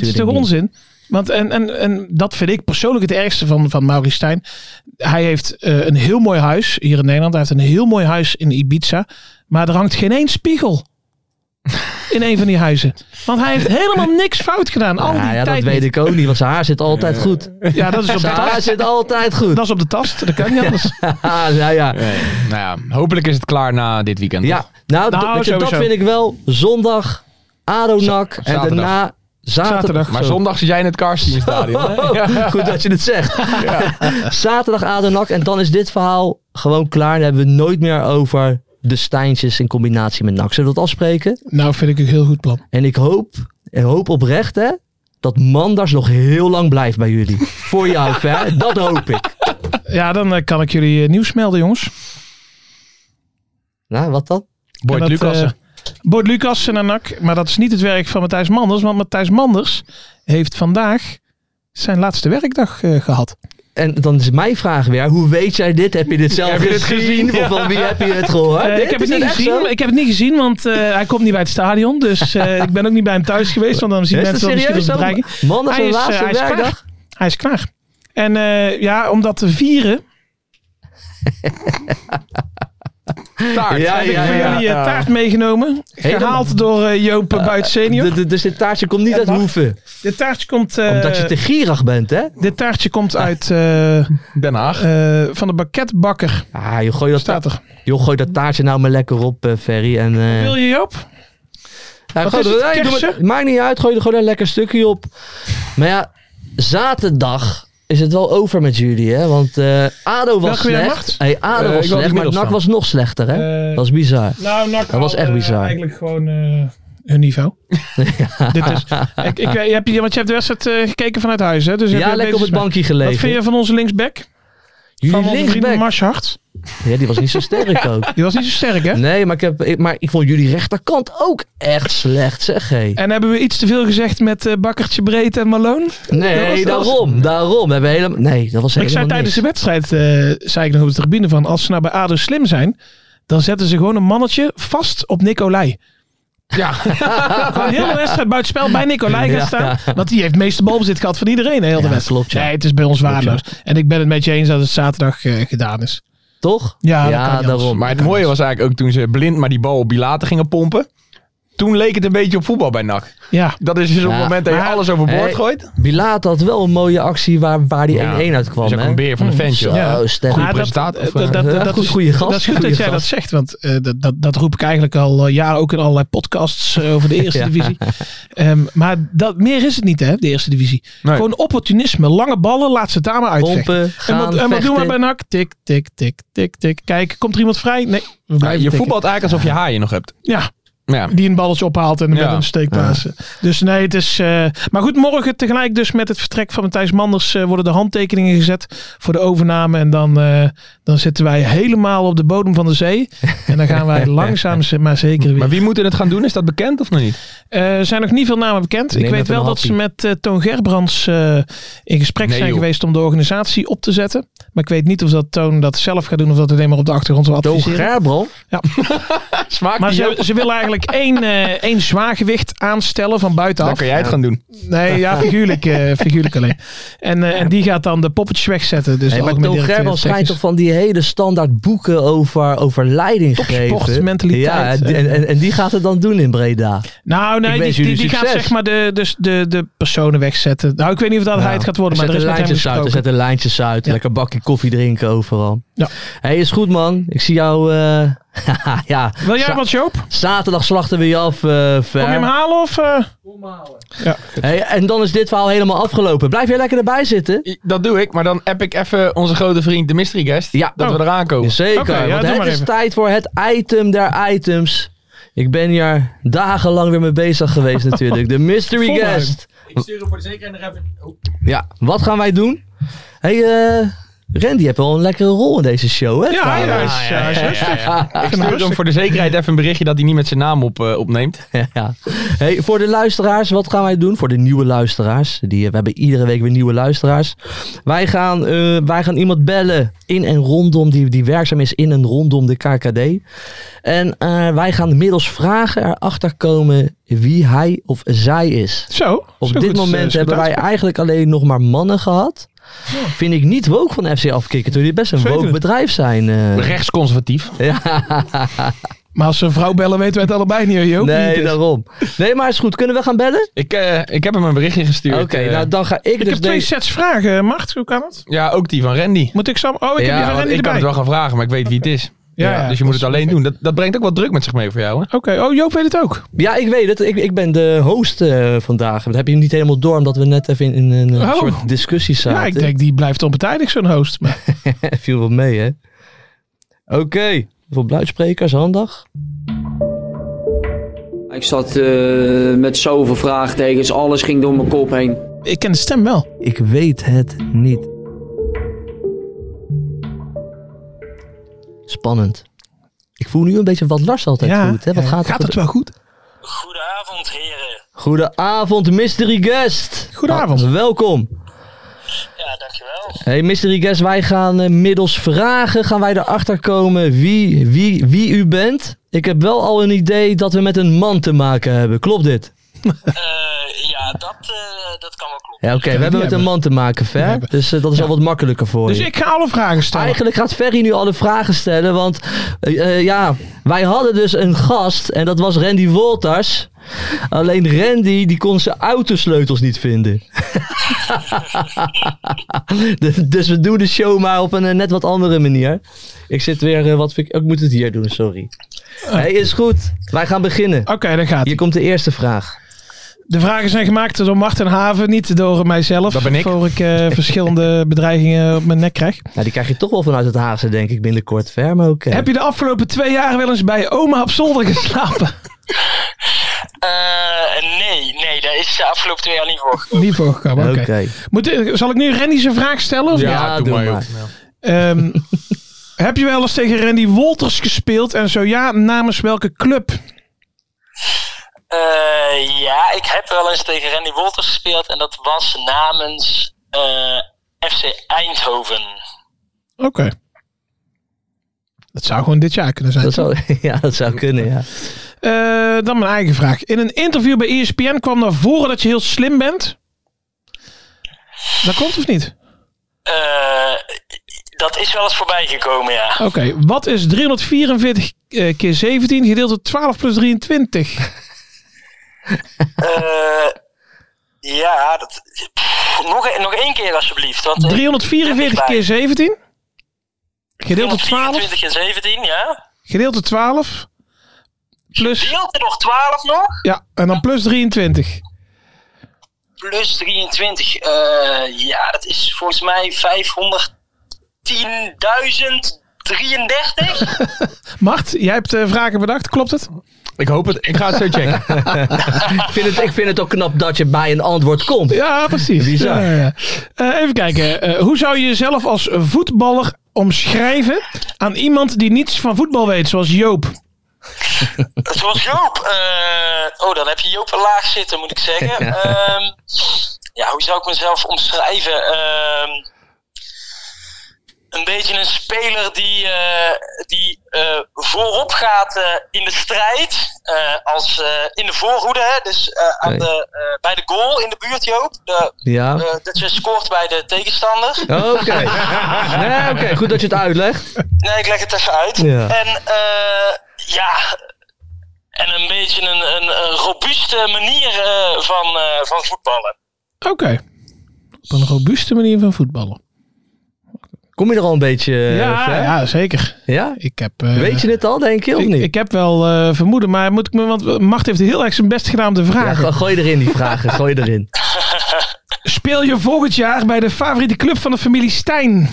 is
tuurlijk
toch
niet.
onzin? Want en, en, en dat vind ik persoonlijk het ergste van, van Maurice Stijn. Hij heeft eh, een heel mooi huis hier in Nederland. Hij heeft een heel mooi huis in Ibiza. Maar er hangt geen één spiegel. in een van die huizen. Want hij heeft helemaal niks fout gedaan. Al die
ja, ja, dat
tijd
weet ik
niet.
ook niet, want zijn haar zit altijd goed.
Ja, dat is op de
Zijn haar
tast.
zit altijd goed.
Dat is op de tast. Dat kan niet anders.
Ah, nou ja.
Nee. Nou ja, hopelijk is het klaar na dit weekend.
Ja,
toch?
nou,
Nou,
dat- dat
sowieso.
vind ik wel. Zondag, Adonak en
zaterdag.
daarna zaterdag.
Zaterdag.
Maar
Zo.
zondag zit jij in het Karstien stadion.
Oh, goed dat je het zegt. Zaterdag Adenak en dan is dit verhaal gewoon klaar. Dan hebben we het nooit meer over de Stijntjes in combinatie met NAC. Zullen we dat afspreken?
Nou, vind ik een heel goed plan.
En ik hoop, en hoop oprecht hè, dat Manders nog heel lang blijft bij jullie. Voor jou, hè? Dat hoop ik.
Ja, dan eh, kan ik jullie eh, nieuws melden, jongens.
Nou, wat dan?
Boyd
En dat,
Lucassen.
eh, Boyd Lucassen en NAC. Maar dat is niet het werk van Matthijs Manders. Want Matthijs Manders heeft vandaag zijn laatste werkdag eh, gehad.
En dan is mijn vraag weer, hoe weet jij dit? Heb je dit zelf
Heb je dit gezien?
Of van wie heb je het gehoord?
Eh,
Dit
ik, heb
is
het niet
echt
gezien,
zo?
ik heb het niet gezien, want eh, hij komt niet bij het stadion. Dus eh, ik ben ook niet bij hem thuis geweest. Want dan zien
Is dat
mensen dan misschien
serieus?
als
dan?
bedreiging.
Manders
Hij
zijn
is, eh,
laatste
hij is
werkdag?
klaar. Hij is klaar. En eh, ja, om dat te vieren
Taart.
Ja,
Heb ik
ja,
voor
hebben
ja.
jullie,
jullie
eh,
eh,
taart.
taart meegenomen.
Helemaal.
Gehaald door eh, Joop eh, Buit senior.
D- d- Dus dit taartje komt niet uit
mag.
Hoeven.
Dit taartje komt, eh,
Omdat je te gierig bent, hè?
dit taartje komt uit eh,
Den Haag.
eh, van de baketbakker.
Ah, joh, gooi dat,
Staat er.
ta- joh, gooi dat taartje nou maar lekker op, eh, Ferry. En, eh,
Wil je Joop?
ja,
wat
gooi
is
er-
het,
nee, doe maar-
kersen?
maakt niet uit, gooi er gewoon een lekker stukje op. Maar ja, zaterdag is het wel over met jullie, hè? Want eh, ADO was
Welke jij
slecht.
mag?
Hey, ADO was
Eh, ik wil die
slecht, maar
middels
NAC
dan.
was nog slechter, hè?
Eh,
dat is bizar.
Nou, NAC
Dat was
had,
echt
eh,
bizar.
eigenlijk gewoon eh, hun niveau. Dit is, ik, ik, je hebt, want je hebt de wedstrijd eh, gekeken vanuit huis, hè? Dus heb
Ja,
je
lekker
deze
op het
smaak.
bankje
Wat
gelegen.
vind je van onze linksback? Van
Jullie
onze vriend
linksback.
Mars Hart.
Ja, die was niet zo sterk ook.
Die was niet zo sterk, hè?
Nee, maar ik, heb, ik- maar ik vond jullie rechterkant ook echt slecht, zeg hé.
En hebben we iets te veel gezegd met eh, Bakkertje Breed en Malone? Dat was-
Nee,
dat was-
daarom, daarom. We hebben helemaal... Nee, dat was helemaal
Ik zei tijdens de
niks.
wedstrijd, eh, zei ik nog op de tribune van, als ze nou bij ADO slim zijn, dan zetten ze gewoon een mannetje vast op Nicolai.
Ja.
Gewoon heel de wedstrijd buitenspel bij Nicolai gaan
Ja.
staan. Want die heeft het meeste balbezit gehad van iedereen, de hele
Ja,
wedstrijd.
klopt, ja.
Nee, het is bij ons
Klopt,
waardeloos. En ik ben het met je eens dat het zaterdag eh, gedaan is.
Toch?
Ja, dat kan niet anders.
daarom.
Maar het mooie was eigenlijk ook toen ze blind maar die bal op Bilate gingen pompen. Toen leek het een beetje op voetbal bij NAC.
Ja.
Dat is dus op
Ja,
het moment dat je
maar-
alles overboord
Hey,
gooit.
Bilaat had wel een mooie actie waar, waar die 1-1
Ja,
uitkwam.
is ook
hè?
een beer van de
Zo,
ventje.
Ja.
sterk.
Maar dat-
presentaat- of,
eh,
eh,
dat- dat-
ja,
dat
goed,
is-
goeie gast,
Dat is goed
goeie
dat jij
gast.
dat zegt, want eh, dat, dat, dat roep ik eigenlijk al eh, jaren ook in allerlei podcasts eh, over de eerste
Ja.
divisie. Ehm, maar dat, meer is het niet, hè, de eerste divisie.
Nee.
Gewoon opportunisme, lange ballen, laat ze het daar maar uitvechten.
Pompen, gaan,
en wat, en wat doen
vechten.
we bij NAC? Tik, tik, tik, tik, tik. Kijk, komt er iemand vrij? Nee, we
Ja,
blijven
je
tikken.
voetbalt eigenlijk alsof je haaien nog hebt.
Ja,
Ja.
die een balletje ophaalt en
Ja.
met een steekpaas. Dus nee, het is... eh, maar goed, morgen tegelijk dus met het vertrek van Matthijs Manders eh, worden de handtekeningen gezet voor de overname. En dan, eh, dan zitten wij helemaal op de bodem van de zee. En dan gaan wij langzaam ze- maar zeker weer... Eh,
Maar wie moeten het gaan doen? Is dat bekend of nog niet?
Er zijn nog niet veel namen bekend.
Neem
Ik weet
even
wel
een
dat ze
hapje.
met eh, Toon Gerbrands eh, in gesprek
Nee,
zijn
joh.
geweest om de organisatie op te zetten. Maar ik weet niet of dat Toon dat zelf gaat doen of dat het alleen maar op de achtergrond zal
Toon
adviseren.
Gerbrands?
Smaakt
Maar
die
ze,
ook?
ze willen eigenlijk één, eh één zwaargewicht aanstellen van
Dan
buitenaf.
kan jij het gaan doen.
Nee, ja, figuurlijk, eh, figuurlijk alleen. En, eh, en die gaat dan de poppetjes wegzetten.
Nee,
Dus de
maar
algemeen
Toon
directeur
Gerbrands schijnt toch van
technisch.
die hele standaard boeken over, over leiding geven.
sportmentaliteit.
Ja, en, die- en, en- en die gaat het dan doen in Breda.
Nou,
Ik
nee, die,
wens
die,
jullie
die gaat
succes.
zeg maar de, dus de, de personen wegzetten. Nou, ik weet niet of dat hij het gaat worden, maar er
Zet
is
de
met hem
lijntjes uit,
gesproken.
zet de lijntjes uit.
Ja.
Lekker bakje koffie drinken overal.
Ja.
hey, is goed man. Ik zie jou... eh, ja,
Wil jij
za-
wat, Joop? Kom
zaterdag slachten we je af, eh Fer.
je hem halen of... eh?
Hey, en dan is dit verhaal helemaal afgelopen. Blijf jij lekker erbij zitten?
Dat doe ik, maar dan app ik even onze grote vriend, de mystery guest,
Ja.
dat
Oh.
we eraan komen.
Zeker,
Oké, ja,
want
doe
het
maar
is
even.
tijd voor het item der items. Ik ben hier dagenlang weer mee bezig geweest natuurlijk. De mystery
Volleuk.
guest.
Ik stuur hem voor de zekerheid nog even. Oh,
Ja, wat gaan wij doen? hey, eh Randy, je hebt wel een lekkere rol in deze show, hè?
Ja, hij
trouwens?
is, hij is rustig.
Ik stuur hem voor de zekerheid even een berichtje dat hij niet met zijn naam op, eh, opneemt.
ja. Hey, voor de luisteraars, wat gaan wij doen? Voor de nieuwe luisteraars. Die, eh, we hebben iedere week weer nieuwe luisteraars. Wij gaan, eh, wij gaan iemand bellen in en rondom, die, die werkzaam is in en rondom de KKD. En eh, wij gaan middels vragen erachter komen wie hij of zij is.
Zo.
Op
zo
dit
goed, eh,
moment
is
hebben
goed
wij eigenlijk alleen nog maar mannen gehad. Vind ik niet woke van FC afkicken, terwijl die best een
Zeker.
woke bedrijf zijn. eh.
Rechtsconservatief.
Ja.
Maar als ze een vrouw bellen, weten wij het allebei niet. Je ook
Nee,
niet. dus.
daarom. Nee, maar is goed. Kunnen we gaan bellen?
Ik, eh, ik heb hem een berichtje gestuurd.
Oké,
eh.
nou dan ga ik,
Ik
dus
heb twee
deze-
sets vragen, eh, Mart. Hoe kan het?
Ja, ook die van Randy.
Moet ik Sam? Oh, ik
ja,
heb die
want
van Randy
ik kan
erbij.
het wel gaan vragen, maar ik weet wie het is.
Ja,
Ja,
ja,
dus je
dat
moet
is
het alleen doen. Dat, dat brengt ook wat druk met zich mee voor jou, hè?
Oké, oh, Joop weet het ook.
Ja, ik weet het. Ik, ik ben de host eh, vandaag. Dat heb je niet helemaal door, omdat we net even in, in een eh,
Oh.
soort discussie zaten.
Ja, ik denk die blijft onpartijdig, zo'n host. Maar
viel wel mee, hè? Oké. Voor bluidsprekers, handig.
Ik zat eh, met zoveel vraagtekens, alles ging door mijn kop heen.
ik ken de stem wel.
Ik weet het niet. Spannend. Ik voel nu een beetje wat Lars altijd
Ja,
voelt, hè? Wat
ja.
gaat er
gaat het
gebe-
wel goed?
Goedenavond, heren.
Goedenavond, mystery guest.
Goedenavond.
Ah, welkom.
Ja, dankjewel.
Hey, mystery guest, wij gaan eh, middels vragen gaan wij erachter komen wie, wie, wie u bent. Ik heb wel al een idee dat we met een man te maken hebben. Klopt dit?
Eh, ja, dat, eh, dat kan wel kloppen.
Ja, oké. we hebben met een man te maken, Fer. Dus eh, dat is al wat makkelijker voor
Dus
je.
ik ga alle vragen stellen.
Eigenlijk gaat Ferry nu alle vragen stellen, want eh, eh, ja, wij hadden dus een gast en dat was Randy Wolters. Alleen Randy die kon zijn autosleutels niet vinden. Dus- dus we doen de show maar op een eh, net wat andere manier. Ik zit weer, eh, wat vind ik, oh, ik moet het hier doen, sorry. Hey, is goed, wij gaan beginnen.
Oké, daar gaat
Hier
ie.
komt de eerste vraag.
De vragen zijn gemaakt door Marten Haven, niet door mijzelf.
Dat ben ik.
Voor ik eh, verschillende bedreigingen op mijn nek krijg.
Nou, die krijg je toch wel vanuit het Haagse, denk ik, binnenkort. Ver, maar oké.
Heb je de afgelopen twee jaar wel eens bij oma op zolder geslapen?
Eh, nee, nee, daar is de afgelopen twee jaar niet voor.
niet voorgekomen, oké.
Oké.
Moet, eh, zal ik nu Randy zijn vraag stellen? Of
Ja,
niet?
doe maar.
Ehm, heb je wel eens tegen Randy Wolters gespeeld? En zo ja, namens welke club?
Eh, ja, ik heb wel eens tegen Randy Wolters gespeeld en dat was namens eh, FC Eindhoven.
Oké. Dat zou gewoon dit jaar kunnen zijn.
Dat zou, ja, dat zou kunnen, ja.
Eh, dan mijn eigen vraag. In een interview bij E ESPN kwam naar voren dat je heel slim bent. Dat komt of niet?
Eh, dat is wel eens voorbij gekomen, ja.
Oké, wat is 344 eh, keer 17 gedeeld door 12 plus 23?
Eh, ja, dat, pff, nog, e-, nog één keer alsjeblieft. Want, eh,
344 keer 17 gedeeld door 12
24 en 17, ja.
gedeeld door 12 plus
Deelt er nog 12 nog?
ja en dan plus 23.
plus 23. eh, ja, dat is volgens mij 510.033.
Mart, jij hebt eh, vragen bedacht, klopt het?
Ik hoop het. Ik ga het zo checken.
Ik vind, het, ik vind het ook knap dat je bij een antwoord komt.
Ja, precies.
Bizar.
Ja, ja. Eh, even kijken. eh, hoe zou je jezelf als voetballer omschrijven aan iemand die niets van voetbal weet, zoals Joop?
Zoals Joop. eh, oh, dan heb je Joop wel laag zitten, moet ik zeggen. Ehm, ja, hoe zou ik mezelf omschrijven? Ehm, een beetje een speler die, eh, die eh, voorop gaat eh, in de strijd. eh, als, eh, in de voorhoede, hè? dus eh, aan
Oké.
de, eh, bij de goal in de buurt, Joop. De,
Ja.
eh, dat je scoort bij de tegenstander.
Oké. Nee, oké, Goed dat je het uitlegt.
Nee, ik leg het even uit.
Ja.
En eh, ja, en een beetje een, een, een robuuste manier eh, van, eh, van voetballen.
Oké. Op een robuuste manier van voetballen.
Kom je er al een beetje... eh,
ja,
ver?
ja, zeker.
Ja?
Ik heb, eh,
Weet je dit al, denk je, of
ik,
niet?
ik heb wel eh, vermoeden, maar moet ik me, want Mart heeft heel erg zijn best gedaan om te
ja,
vragen.
go- gooi erin die vragen. Gooi erin.
Speel je volgend jaar bij de favoriete club van de familie Stijn?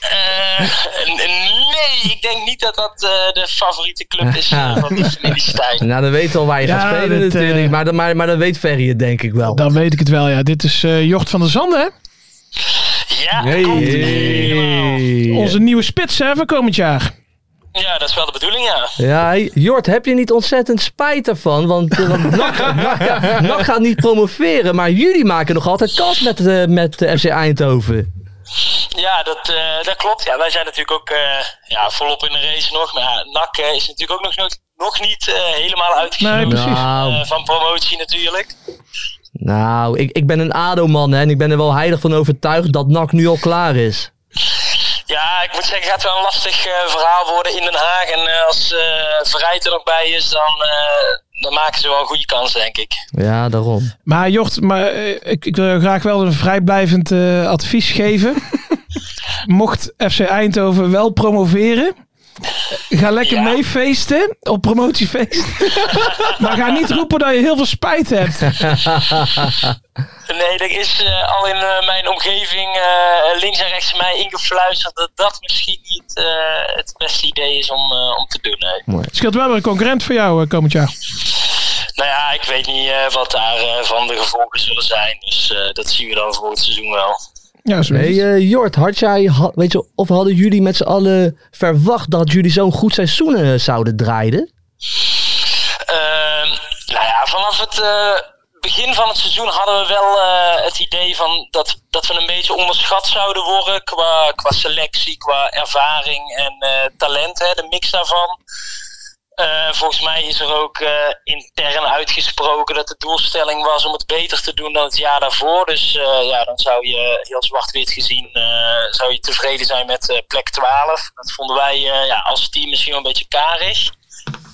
Eh, n- nee, ik denk niet dat dat eh, de favoriete club is eh, van de familie Stijn.
Nou, dan weet al waar je
Ja,
gaat spelen
dit, eh,
natuurlijk. Maar, dan- maar, maar dan weet Ferry het denk ik wel.
Dan weet ik het wel, ja. Dit is eh, Jocht van der Zanden, hè?
Ja, komt helemaal.
Onze nieuwe spits, hè, van komend jaar.
Ja, dat is wel de bedoeling, ja.
Ja, Jort, heb je niet ontzettend spijt ervan? Want eh, want NAC NAC- ja, NAC gaat niet promoveren, maar jullie maken nog altijd kans met, eh, met de FC Eindhoven.
Ja, dat, eh, dat klopt. Ja, wij zijn natuurlijk ook eh, ja, volop in de race nog. Maar ja, NAC eh, is natuurlijk ook nog, nog, nog niet eh, helemaal
Nee,
uitgesloten
precies.
Nou,
eh, van promotie natuurlijk.
nou ik, ik ben een ADO-man hè, en ik ben er wel heilig van overtuigd dat NAC nu al klaar is.
Ja, ik moet zeggen, het gaat wel een lastig eh, verhaal worden in Den Haag. En eh, als eh Verheid er nog bij is, dan, eh, dan maken ze wel een goede kans, denk ik.
Ja, daarom.
Maar Jocht, maar, eh, ik, ik wil jou graag wel een vrijblijvend eh, advies geven. Mocht FC Eindhoven wel promoveren, eh, ga lekker
Ja.
mee feesten op promotiefeest. maar ga niet roepen dat je heel veel spijt hebt.
Nee, er is eh, al in eh, mijn omgeving eh, links en rechts mij ingefluisterd dat dat misschien niet eh, het beste idee is om, eh, om te doen. nee.
Het scheelt wel weer een concurrent voor jou eh, komend jaar.
Nou ja, ik weet niet eh, wat daar eh, van de gevolgen zullen zijn. Dus eh, dat zien we dan voor het seizoen wel.
Ja, zo is
Hey,
het.
eh, Jort, had jij, ha- weet je, of hadden jullie met z'n allen verwacht dat jullie zo'n goed seizoen eh, zouden draaien?
Ehm, nou ja, vanaf het eh, begin van het seizoen hadden we wel eh, het idee van dat, dat we een beetje onderschat zouden worden qua, qua selectie, qua ervaring en eh, talent, hè, de mix daarvan. Eh, volgens mij is er ook eh, intern uitgesproken dat de doelstelling was om het beter te doen dan het jaar daarvoor. Dus eh, ja, dan zou je heel zwart-wit gezien eh, zou je tevreden zijn met eh, plek 12. Dat vonden wij eh, ja, als team misschien wel een beetje karig.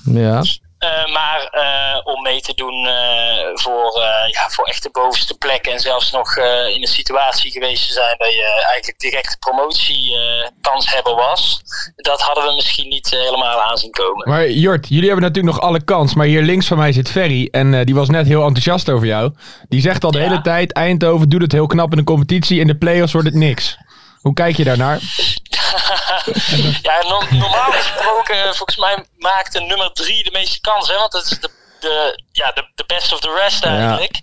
Ja.
Eh, maar eh, om mee te doen eh, voor, eh, ja, voor echt de bovenste plekken. En zelfs nog eh, in een situatie geweest te zijn dat je eigenlijk direct promotiekans eh, hebben was. Dat hadden we misschien niet eh, helemaal aan zien komen.
Maar Jort, jullie hebben natuurlijk nog alle kans. Maar hier links van mij zit Ferry. En eh, die was net heel enthousiast over jou. Die zegt al de
Ja.
hele tijd: Eindhoven doet het heel knap in de competitie. In de play-offs wordt het niks. Hoe kijk je daarnaar?
ja, no- normaal gesproken, eh, volgens mij maakt de nummer drie de meeste kans. Hè? Want dat is de, de, ja, de, de best of the rest eigenlijk.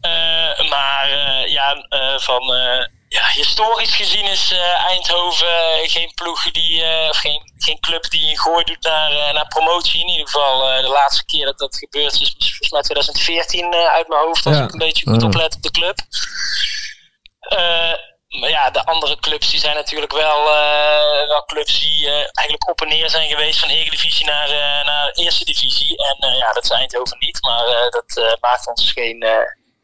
Eh, maar eh, ja, eh, van, eh, ja, historisch gezien is eh, Eindhoven eh, geen ploeg die, eh, of geen, geen club die een gooi doet naar, eh, naar promotie. In ieder geval eh, de laatste keer dat dat gebeurd is, was volgens mij 2014 eh, uit mijn hoofd. Als
Ja.
ik een beetje goed
Ja.
oplet op de club. Eh, maar ja, de andere clubs die zijn natuurlijk wel, eh, wel clubs die eh, eigenlijk op en neer zijn geweest van Eredivisie naar, eh, naar Eerste Divisie. En eh, ja, dat is Eindhoven niet, maar eh, dat eh, maakt ons geen eh,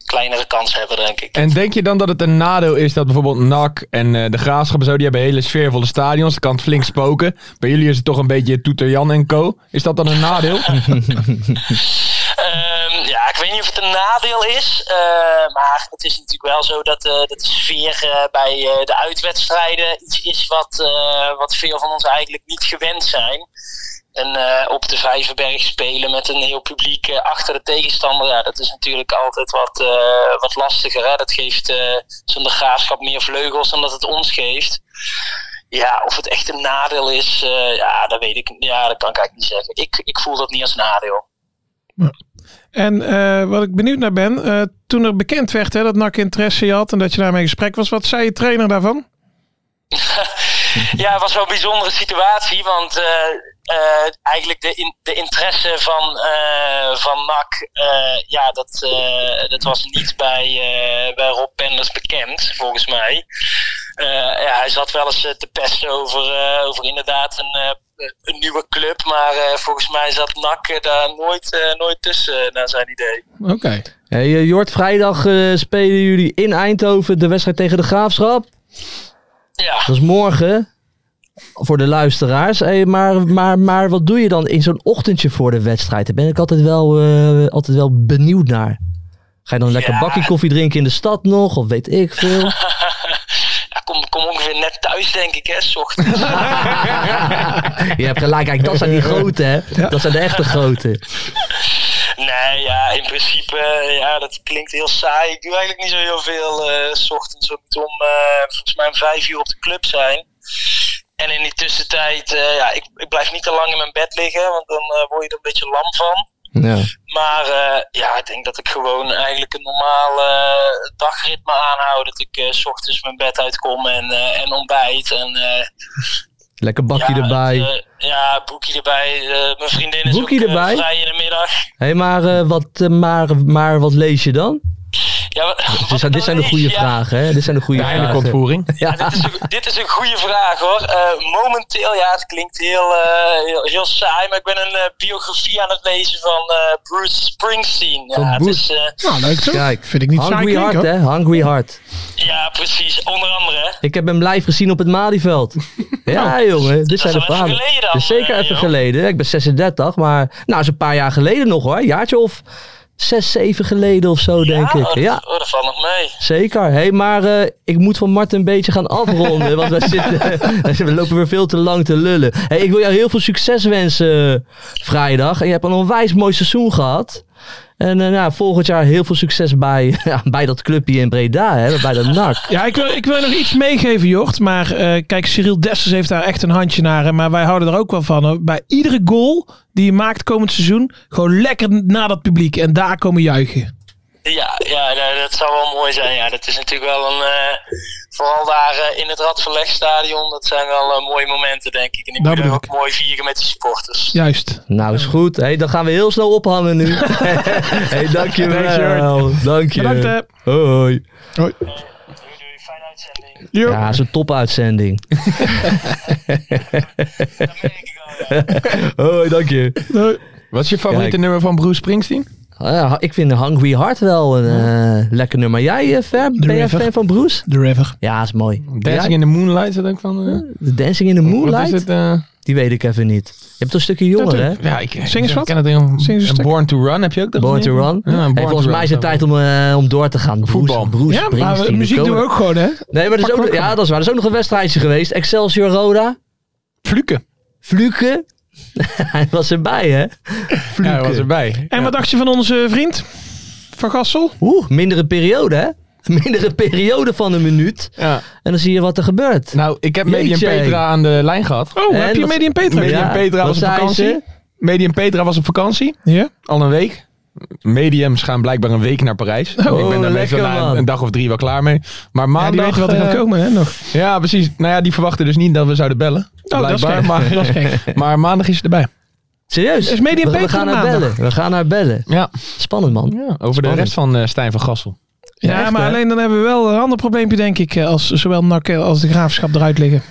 kleinere kans hebben, denk ik.
En denk je dan dat het een nadeel is dat bijvoorbeeld NAC en eh, de Graafschap en zo. die hebben hele sfeervolle stadions. Dat kan het flink spoken. Bij jullie is het toch een beetje Toeter Jan en Co. Is dat dan een nadeel?
Ehm, ja, ik weet niet of het een nadeel is. eh, maar het is natuurlijk wel zo dat, eh, dat de sfeer eh, bij eh, de uitwedstrijden iets is wat, eh, wat veel van ons eigenlijk niet gewend zijn. En eh, op de Vijverberg spelen met een heel publiek eh, achter de tegenstander, ja, dat is natuurlijk altijd wat, eh, wat lastiger. Hè? Dat geeft eh zo'n de graafschap meer vleugels dan dat het ons geeft. Ja, of het echt een nadeel is, eh, ja, dat weet ik. Ja, dat kan ik eigenlijk niet zeggen. Ik, ik voel dat niet als nadeel.
En eh, wat ik benieuwd naar ben, eh, toen er bekend werd hè, dat NAC interesse had en dat je daarmee in gesprek was, wat zei je trainer daarvan?
ja, het was wel een bijzondere situatie, want eh, eh, eigenlijk de, in- de interesse van, eh, van NAC, eh, ja, dat, eh, dat was niet bij, eh, bij Rob Penders bekend, volgens mij. Eh, ja, hij zat wel eens eh, te pesten over, eh, over inderdaad een, eh, een nieuwe club, maar eh, volgens mij zat NAC eh, daar nooit, eh, nooit tussen, naar zijn idee.
Oké.
Hey, eh, Jort, vrijdag eh, spelen jullie in Eindhoven de wedstrijd tegen de Graafschap.
Ja.
Dat is morgen. Voor de luisteraars. Hey, maar, maar, maar wat doe je dan in zo'n ochtendje voor de wedstrijd? Daar ben ik altijd wel, eh, altijd wel benieuwd naar. Ga je dan lekker
Ja.
bakje koffie drinken in de stad nog? Of weet ik veel?
ja, kom, kom ongeveer net thuis, denk ik, hè, 's ochtends.
je hebt gelijk. Kijk, dat zijn die grote, hè? Dat zijn de echte grote.
Nee, ja, in principe, eh, ja, dat klinkt heel saai. Ik doe eigenlijk niet zo heel veel eh, s ochtends. Ik moet om, eh, volgens mij om vijf uur op de club zijn. En in die tussentijd, eh, ja, ik, ik blijf niet te lang in mijn bed liggen, want dan eh, word je er een beetje lam van.
Ja.
Maar eh, ja, ik denk dat ik gewoon eigenlijk een normaal eh, dagritme aanhoud. Dat ik eh, s ochtends mijn bed uitkom en, eh, en ontbijt. En, eh,
Lekker bakje
ja,
erbij.
het, eh, ja, boekje erbij. Eh, mijn vriendin is
Boekje
ook eh,
erbij?
vrij in de middag.
hey, maar, eh, wat, eh, maar, maar wat lees je dan?
Ja, wat-
Dus,
wat ik
dit
dan
zijn de
lees,
goede
ja.
vragen, hè? Dit zijn de goede
De
vragen.
eindelijke ontvoering.
Ja.
Dit is, een- dit is een goede vraag hoor. Eh, momenteel, ja, het klinkt heel, eh, heel, heel saai, maar ik ben een eh, biografie aan het lezen van eh, Bruce Springsteen.
Van
Ja, het
Bruce.
is, eh,
Nou, leuk toch?
Kijk,
Vind ik niet saai
Hungry
klinken,
Heart,
hoor.
hè? Hungry Heart.
ja, precies. Onder andere. hè.
Ik heb hem live gezien op het Malieveld. Ja, jongen, dit
Nou,
zijn
Dat is
de
al even
verhalen.
geleden dan,
Dat is zeker
eh,
even
joh.
geleden. Ik ben 36, maar nou, dat is een paar jaar geleden nog hoor. Een jaartje of zes, zeven geleden of zo, denk
ja?
ik.
Oh,
Ja,
dat- oh, dat valt nog mee.
zeker. hey, maar eh, ik moet van Marten een beetje gaan afronden, want wij zitten, we lopen weer veel te lang te lullen. Hey, ik wil jou heel veel succes wensen eh, vrijdag. En je hebt een onwijs mooi seizoen gehad. En eh, nou, volgend jaar heel veel succes bij, ja, bij dat clubje in Breda, hè, bij dat NAC.
Ja, ik wil, ik wil nog iets meegeven, Jocht. Maar eh, kijk, Cyril Dessers heeft daar echt een handje naar. hè, Maar wij houden er ook wel van. hoor. Bij iedere goal die je maakt komend seizoen, gewoon lekker naar dat publiek. En daar komen juichen.
Ja, ja nou, dat zou wel mooi zijn. Ja, dat is natuurlijk wel een. eh, vooral daar eh, in het Radverlegstadion, dat zijn wel eh, mooie momenten, denk ik. En die
Dat
moeten we
bedoel
ook mooi vieren met de supporters.
Juist.
Nou, is goed. Hey, dan gaan we heel snel ophangen nu. hey, dankjewel. Dank je.
Bedankt, eh, hè.
Hoi.
Doei, doei, fijne uitzending.
Jo.
Ja, zo'n topuitzending.
Dat merk ik al. ja.
Hoi, dank je.
Nee.
Wat is je favoriete
Ja, ik-
nummer van Bruce Springsteen?
Ah, ik vind Hungry Heart wel een eh, lekker nummer. Jij, eh, Fer, ben jij
River.
fan van Bruce?
The River.
Ja, is mooi.
Dancing in the Moonlight, is dat ook van... eh,
the Dancing in the
Wat
Moonlight?
is het? eh?
Die weet ik even niet. Je bent toch een stukje jonger, hè?
ja, ik,
Zing eens
ik
wat.
ken het heel-
Zing eens een
en
stuk.
Born to Run heb je ook. dat
Born to
gezien?
Run.
Ja, Born
hey,
to
volgens
Run
mij is het
staat
tijd om, eh, om door te gaan. Bruce-
Voetbal.
Bruce,
Ja, maar we-
Springsteen,
muziek
de
doen we
koning.
ook gewoon, hè?
Nee, maar dat is ook, ja, dat is waar. Dat is ook nog een wedstrijdje geweest. Excelsior Roda.
er. Fluke.
Fluke. Hij was erbij, hè?
Ja, hij was erbij.
En wat dacht je van onze vriend? Van Gassel?
Oeh, mindere periode, hè? Mindere periode van een minuut.
Ja.
En dan zie je wat er gebeurt.
Nou, ik heb Medium
Jeetje.
Petra aan de lijn gehad.
Oh,
En
heb je
wat-
Medium Petra?
Medium
Ja,
Petra
wat
was op
zei
vakantie.
ze?
Medium Petra was op vakantie.
Ja.
Al een week. Mediums gaan blijkbaar een week naar Parijs. ik ben daar meestal
lekker,
na
man.
een, een dag of drie wel klaar mee. Maar
Oh, Ja, die
maandag...
weten wat er
eh,
gaat komen, hè? Nog.
Ja, precies. Nou ja, die verwachten dus niet dat we zouden bellen.
Oh, dat is
blijkbaar.
gek.
maar,
Dat is gek.
maar maandag is ze erbij.
Serieus?
Is Medium
we, we
Peter
gaan
er
naar
maandag?
bellen. We gaan naar bellen.
Ja,
Spannend, man.
ja over de
Spannend.
rest van eh, Stijn van Gassel.
Ja,
echt,
maar
hè?
alleen dan hebben we wel een ander probleempje, denk ik. eh, Als zowel NAC als de Graafschap eruit liggen.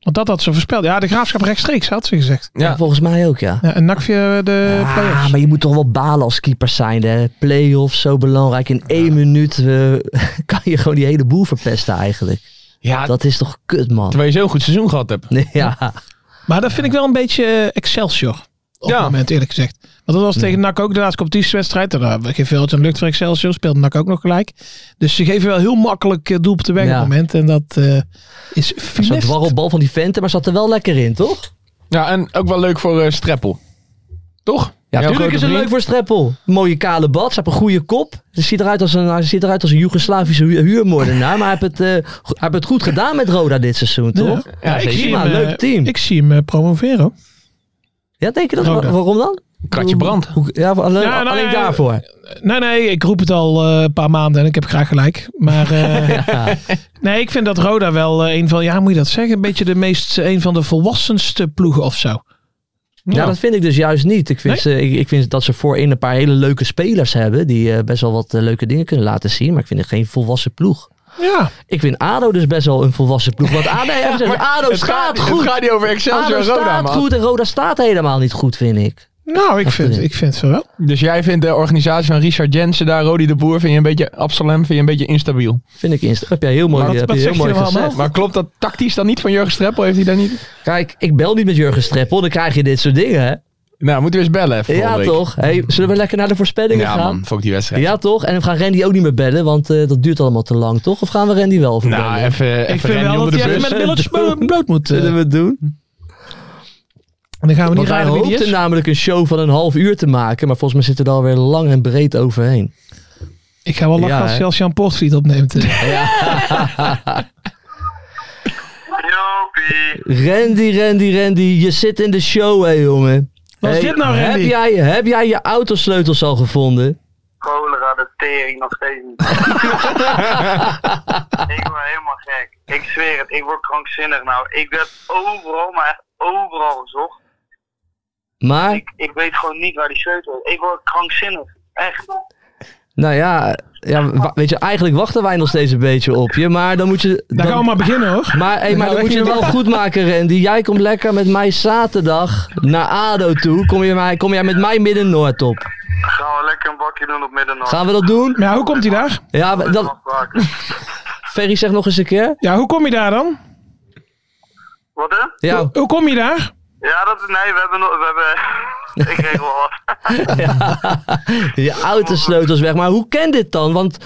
Want dat had ze voorspeld. Ja, de Graafschap rechtstreeks, had ze gezegd.
Ja, volgens mij ook, ja.
Ja, en NAC via de
Ah,
play-offs.
maar je moet toch wel balen als keeper zijn, hè? Play-offs, zo belangrijk. In één minuut eh, kan je gewoon die hele boel verpesten, eigenlijk.
Ja,
Dat is toch kut, man?
terwijl je zo'n goed seizoen gehad hebt.
Nee, Ja,
Maar dat vind ik wel een beetje eh, Excelsior. Op
Ja.
het moment, eerlijk gezegd. Want dat was tegen NAC ook de laatste competitiewedstrijd. Daar eh, geeft veel aan lucht voor Excelsior. Speelde NAC ook nog gelijk. Dus ze geven wel heel makkelijk eh, doelpunten weg
Ja.
op het moment. En dat eh, is
zo'n
finest.
dwarrelbal van die venten, maar zat er wel lekker in, toch?
Ja, en ook wel leuk voor eh, Streppel. Toch?
Ja,
Jouw
natuurlijk
grote
is het
vriend.
leuk voor Streppel. Mooie kale bad, ze hebben een goede kop. Ze ziet eruit als een, hij ziet eruit als een Joegoslavische hu- huurmoordenaar. Maar hij heeft, het, eh, go- hij heeft het goed gedaan met Roda dit seizoen, toch? Ja,
ik
zeker.
zie
Prima,
hem, eh,
leuk team.
Ik zie hem eh, promoveren. hoor.
ja, denk je dat? Wa-
Roda.
Waarom dan?
Kratje brand.
Hoe- Ja, wa- alleen,
Ja, nou,
alleen
ja,
daarvoor.
Eh, Nee, nee, ik roep het al eh, een paar maanden en ik heb graag gelijk. Maar eh, nee, ik vind dat Roda wel eh, een van, ja, hoe moet je dat zeggen? Een beetje de meest, eh, een van de volwassenste ploegen of zo.
Ja. dat vind ik dus juist niet. Ik vind, ze, ik, ik vind dat ze voorin een paar hele leuke spelers hebben. Die eh, best wel wat eh, leuke dingen kunnen laten zien. Maar ik vind het geen volwassen ploeg.
Ja,
Ik vind ADO dus best wel een volwassen ploeg. Want ADO, ADO
Het gaat,
staat
het
goed.
gaat niet over
ADO
Excelsior en Roda,
staat
man.
goed en Roda staat helemaal niet goed, vind ik.
nou, ik vind, ik vind ze wel.
Dus jij vindt de organisatie van Richard Jensen daar, Rodi de Boer, vind je een beetje Absalem, vind je een beetje instabiel.
Vind ik insta. Heb jij heel mooi,
Maar wat-
heb
wat
je heel
zegt
mooi
hij nou
gezegd.
allemaal?
Maar klopt dat tactisch dan niet van Jurgen Streppel? Heeft hij daar niet?
Kijk, ik bel niet met Jurgen Streppel, dan krijg je dit soort dingen, hè?
Nou, moeten we eens bellen even
Ja,
volgende week.
toch? Hey, zullen we lekker naar de voorspellingen
Ja,
gaan?
man, fuck die wedstrijd.
Ja, toch? En we gaan Randy ook niet meer bellen, want eh, dat duurt allemaal te lang, toch? Of gaan we Randy wel even
Nou,
bellen?
even,
Ik
even
vind
Randy
wel dat
onder de
hij even
bus.
met billetjes blo- bloot moet. eh.
Zullen we het doen?
En dan gaan we niet
Want wij
raden wie Oh, die
hoopten
is.
namelijk een show van een half uur te maken, maar volgens mij zitten we er alweer lang en breed overheen.
Ik ga wel lachen
Ja,
als
hè?
je als Jan Portfiet opneemt. eh.
Jopie.
Randy, Randy, Randy, je zit in de show, hè, jongen.
Wat is
Hey,
dit nou,
Heb
Randy?
jij, heb jij je autosleutels al gevonden?
Cholera, de tering nog steeds niet. ik word helemaal gek. Ik zweer het, ik word krankzinnig nou. Ik heb overal, maar echt overal gezocht.
Maar
Ik weet gewoon niet waar die sleutel is. Ik word krankzinnig. Echt.
Nou ja, ja, wa- weet je, eigenlijk wachten wij nog steeds een beetje op je. Maar dan moet je... dan-
Daar gaan we maar beginnen hoor.
Maar, hey,
Dan
maar dan
gaan we
moet je het
beginnen.
wel goed maken, Randy. Jij komt lekker met mij zaterdag naar ADO toe. Kom, je mij, kom jij met mij Midden-Noord op.
Gaan we lekker een bakje doen op middernacht.
Gaan we dat doen?
Ja, hoe komt hij daar?
Ja, maar
Dat is
dat,
afspraken.
Ferry zegt nog eens een keer.
Ja, hoe kom je daar dan?
Wat hè?
Ja,
Hoe kom je daar?
Ja, dat is... Nee, we hebben... nog- We hebben ik regel al wat.
je autosleutels weg. Maar hoe kan dit dan? Want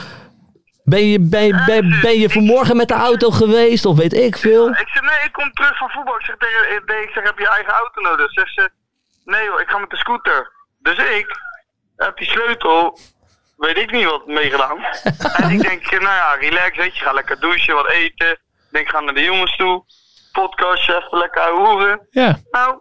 ben je, ben, je- ben, ben je vanmorgen met de auto geweest of weet ik veel?
Ik zeg, nee, ik kom terug van voetbal. Ik zeg, tegen, ik- nee, ik zeg heb je eigen auto nodig? Zegt ze, nee hoor, ik ga met de scooter. Dus ik heb die sleutel, weet ik niet wat, meegedaan. en ik denk, nou ja, relax, weet je, ga lekker douchen, wat eten. Ik denk, ga naar de jongens toe. Podcastje, even lekker ouwe hoeren.
Ja.
Nou,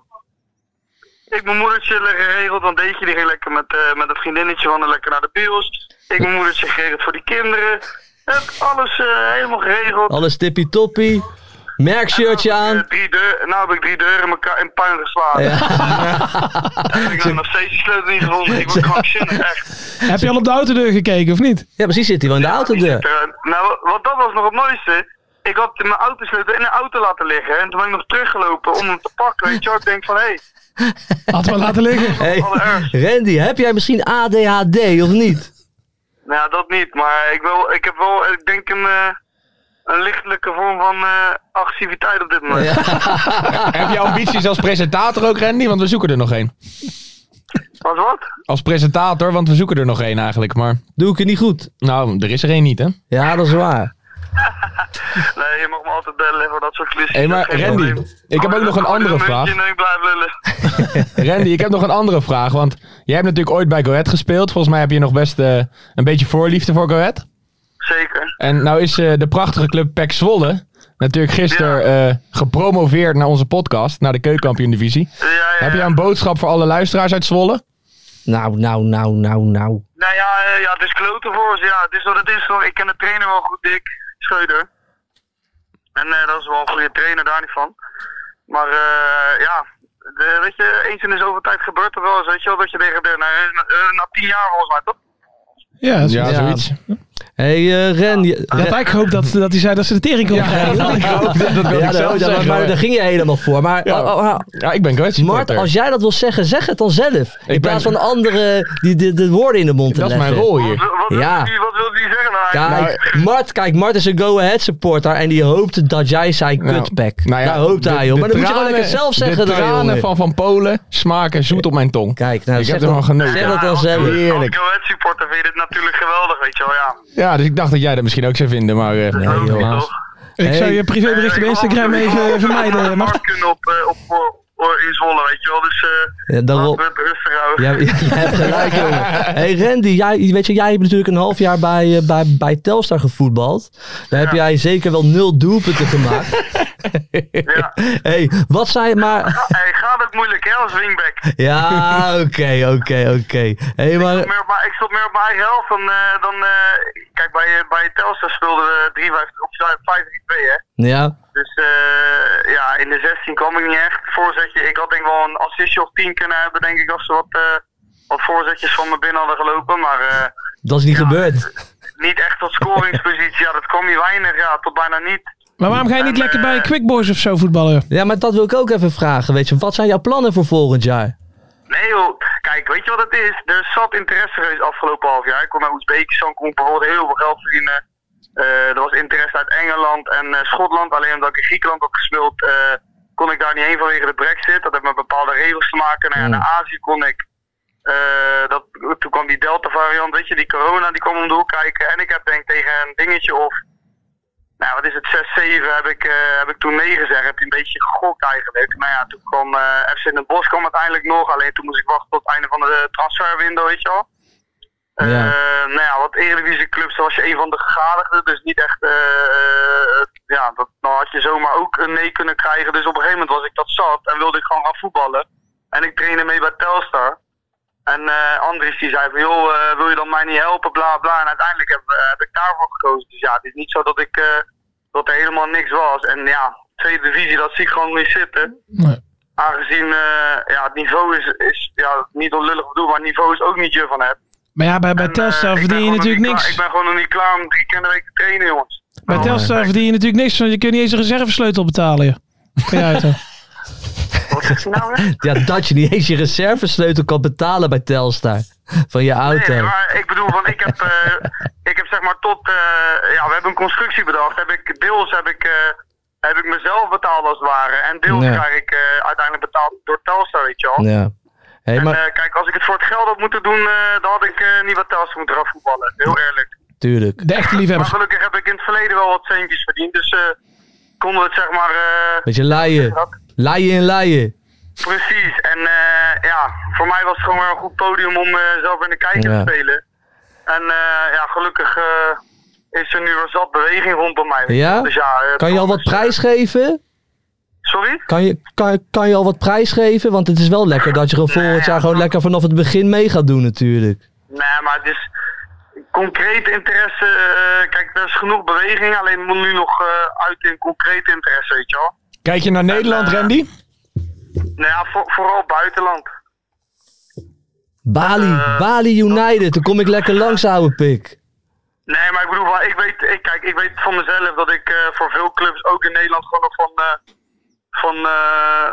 ik mijn moedertje geregeld, want deed je die ging lekker met, eh, met het vriendinnetje van haar lekker naar de bios. Ik mijn moedertje geregeld voor die kinderen. Heb alles eh, helemaal geregeld.
Alles tippie-toppie. Merkshirtje
Nou heb
aan.
ik, eh, drie deur, nou heb ik drie deuren in, elkaar, in puin geslagen. En ik heb nog steeds die sleutel niet gevonden. Ik word krankzinnig, echt.
Heb je al op de autodeur gekeken of niet?
Ja, precies zit hij wel in de autodeur.
Er, eh, Nou, wat dat was nog het mooiste. Ik had mijn autosleutel in de auto laten liggen. En toen ben ik nog teruggelopen om hem te pakken. Weet je wel, ik denk van, hé, hey,
Had maar laten liggen.
Hey,
allerergst.
Randy, heb jij misschien ADHD of niet?
nou ja, dat niet. Maar ik, wil, ik heb wel, eh, ik denk een, eh, een lichtelijke vorm van eh, agressiviteit op dit moment.
Heb je ambities als presentator ook, Randy? Want we zoeken er nog één.
Wat wat?
Als presentator, want we zoeken er nog één eigenlijk. Maar
Doe ik het niet goed?
nou, er is er één niet, hè?
Ja, dat is waar.
Nee, je mag me altijd bellen voor dat soort klusjes.
Hé, maar
Geen
Randy,
probleem.
ik heb ook nog een
Gooi er
andere
muntje
vraag.
in en ik blijf lullen.
Randy, ik heb nog een andere vraag. Want jij hebt natuurlijk ooit bij Go Ahead gespeeld. Volgens mij heb je nog best eh, een beetje voorliefde voor Go Ahead.
Zeker.
En nou is eh, de prachtige club PEC Zwolle natuurlijk gisteren eh, gepromoveerd naar onze podcast. Naar de Keukenkampioen Divisie.
Ja, Eh, ja,
Heb
ja.
jij een boodschap voor alle luisteraars uit Zwolle?
Nou, nou, nou, nou, nou.
Nou ja, eh, ja, het is kloten voor ze. Ja, het is wat het is. hoor. Ik ken de trainer wel goed, Dick Scheuder. En eh, dat is wel een goede trainer, daar niet van. Maar eh, ja, de, weet je, eens in de zoveel tijd gebeurt er wel eens, weet je wel, dat je degradeert. Na, eh, na, na tien jaar volgens mij, toch?
Ja, dat is-
Ja,
Ja.
zoiets.
Hey, eh, Randy.
Ik had
Ren-
eigenlijk gehoopt dat, dat hij zei dat ze de tering kon krijgen.
Dat wil
Ja,
ik zelf
daar- daar-
zeggen.
maar daar
maar-
ging je helemaal voor. Maar
Ja.
oh, oh, oh,
Ja, ik ben Go Ahead
Mart,
supporter.
als jij dat wil zeggen, zeg het dan zelf. In
ben-
plaats van anderen die de, de woorden in de mond te
Dat is
leggen.
mijn rol
Wat,
hier.
wat,
Ja.
wil die, wat wil die zeggen nou eigenlijk?
Kijk, Mart, kijk, Mart is een go-ahead supporter en die hoopte dat jij zei kutpek.
Nou ja,
Daar hoopte
de-
hij op.
de
Maar dan moet je gewoon
tranen-
lekker zelf
De
zeggen dan,
tranen
jongen.
van Van Polen smaken zoet op mijn tong.
Kijk, nou,
ik
zeg
heb ervan
dat-
genoten.
zeg dat dan zelf.
Heerlijk.
Als Ahead supporter vind je dit natuurlijk geweldig, weet je wel, ja.
Ja, dus ik dacht dat jij dat misschien ook zou vinden, maar eh,
Logisch,
helaas.
toch? Eh,
Ik zou
Hey.
je privébericht op Instagram even vermijden. Mag
Mark kunnen op, eh, op, voor- voor in Zwolle, weet je wel. Dus eh
Ja, daarom-
laten
Ah,
we het rustig houden.
Ja, je hebt gelijk, jongen. hey, Randy, jij, weet je, jij hebt natuurlijk een half jaar bij, eh, bij, bij Telstar gevoetbald. Daar heb jij zeker wel nul doelpunten gemaakt.
Ja.
hey, wat zijn maar...
Hij gaat ook moeilijk, hè, als wingback.
Ja, oké, oké, oké. hey,
Ik stond
maar...
meer op mijn- ik stond meer op mijn eigen helft dan. eh, dan eh, kijk, bij, eh, bij Telstar speelden we 3-5 of 5-3-2, hè.
Ja,
Dus eh, ja, in de 16 kwam ik niet echt. Voorzetje, ik had denk ik wel een assistje of 10 kunnen hebben, denk ik, als ze wat, eh, wat voorzetjes van me binnen hadden gelopen. Maar eh,
dat is niet gebeurd.
niet echt tot scoringspositie. ja, dat kwam hier weinig, ja, tot bijna niet.
Maar waarom ga je niet lekker bij Quick Boys of zo voetballen?
Ja, maar dat wil ik ook even vragen, weet je. Wat zijn jouw plannen voor volgend jaar?
Nee joh, kijk, weet je wat het is? Er zat interesse geweest afgelopen half jaar. Ik kon naar Oezbekistan, kon ik bijvoorbeeld heel veel geld verdienen. Eh, er was interesse uit Engeland en eh, Schotland. Alleen omdat ik in Griekenland had gespeeld, eh, kon ik daar niet heen vanwege de brexit. Dat heeft met bepaalde regels te maken. Nou ja, naar Azië kon ik. Eh, dat, toen kwam die Delta variant, weet je, die corona, die kwam om de hoek kijken. En ik heb denk ik tegen een dingetje of, nou wat is het, 6, 7 heb ik, eh, heb ik toen nee gezegd. Heb je een beetje gegokt eigenlijk. Nou ja, toen kwam eh, FC Den Bosch kwam uiteindelijk nog. Alleen toen moest ik wachten tot het einde van de transferwindow, weet je wel. Eh,
Ja.
nou ja, wat Eredivisie clubs, dan was je een van de gegadigden. Dus niet echt, eh, eh, ja, dat, dan had je zomaar ook een nee kunnen krijgen. Dus op een gegeven moment was ik dat zat en wilde ik gewoon gaan voetballen. En ik trainde mee bij Telstar. En eh Andries die zei van, joh, eh, wil je dan mij niet helpen, bla bla. En uiteindelijk heb, eh, heb ik daarvoor gekozen. Dus ja, het is niet zo dat, ik, eh, dat er helemaal niks was. En ja, tweede divisie, dat zie ik gewoon niet zitten.
Nee.
Aangezien eh, ja, het niveau is, is ja, niet onlullig bedoeld, maar het niveau is ook niet je van hebt.
Maar ja, bij, bij
En, eh,
Telstar
ik ben
verdien je
gewoon nog
natuurlijk
niet klaar-
niks.
Ik ben gewoon nog niet klaar om drie keer in de week te trainen, jongens.
Bij
Oh,
Telstar
nee.
eh, verdien je natuurlijk niks, want je kunt niet eens een reservesleutel betalen. joh. Kun je uit, eh. hè?
Wat zegt ze nou weer?
Ja, dat je niet eens je reservesleutel kan betalen bij Telstar. Van je auto.
Nee, maar ik bedoel, van ik heb, eh, ik heb zeg maar tot, eh, ja, we hebben een constructie bedacht. Heb ik, deels heb ik, eh, heb ik mezelf betaald als het ware. En deels
Ja.
krijg ik eh, uiteindelijk betaald door Telstar, weet je wel.
Ja. Hey,
En,
maar
eh, kijk, als ik het voor het geld had moeten doen, eh, dan had ik eh, niet wat Telstar moeten gaan voetballen. Heel eerlijk.
tuurlijk.
De echte
Maar
liefhebbers.
gelukkig heb ik in het verleden wel wat centjes verdiend. Dus eh, konden we het zeg maar... eh,
Beetje laaien. Laaien en laaien.
Precies, en eh, ja, voor mij was het gewoon weer een goed podium om eh, zelf in de kijker
Ja.
te spelen. En eh, ja, gelukkig eh, is er nu weer zat beweging rondom mij.
Ja?
Dus ja eh,
Kan je al wat prijs geven?
Sorry?
Kan je, kan, kan je al wat prijs geven? Want het is wel lekker dat je gewoon volgend jaar gewoon lekker vanaf het begin mee gaat doen natuurlijk.
Nee, maar het is concreet interesse. eh, kijk, er is genoeg beweging, alleen het moet nu nog eh, uit in concreet interesse, weet je wel.
Kijk je naar Nederland, Randy?
Nou ja, voor- vooral buitenland. Eh,
Bali, Bali United. Dan kom ik lekker langs, ouwe pik.
Nee, maar ik bedoel, wel, ik weet, ik, kijk, ik weet van mezelf dat ik eh, voor veel clubs ook in Nederland gewoon nog van, eh, van, eh,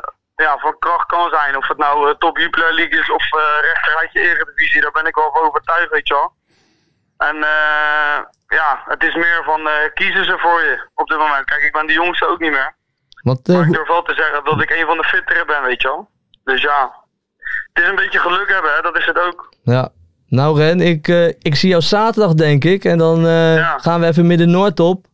ja, van kracht kan zijn. Of het nou eh, top Jupiler League is of eh rechterrijtje Eredivisie, daar ben ik wel van overtuigd, weet je wel. En eh, ja, het is meer van eh, kiezen ze voor je op dit moment. Kijk, ik ben de jongste ook niet meer.
Want, eh,
Maar ik
hoe-
durf wel te zeggen dat ik een van de fittere ben, weet je wel. Dus ja, het is een beetje geluk hebben, hè, dat is het ook.
ja. Nou Ren, ik, eh, ik zie jou zaterdag denk ik. En dan eh,
Ja.
gaan we even Midden-Noord op.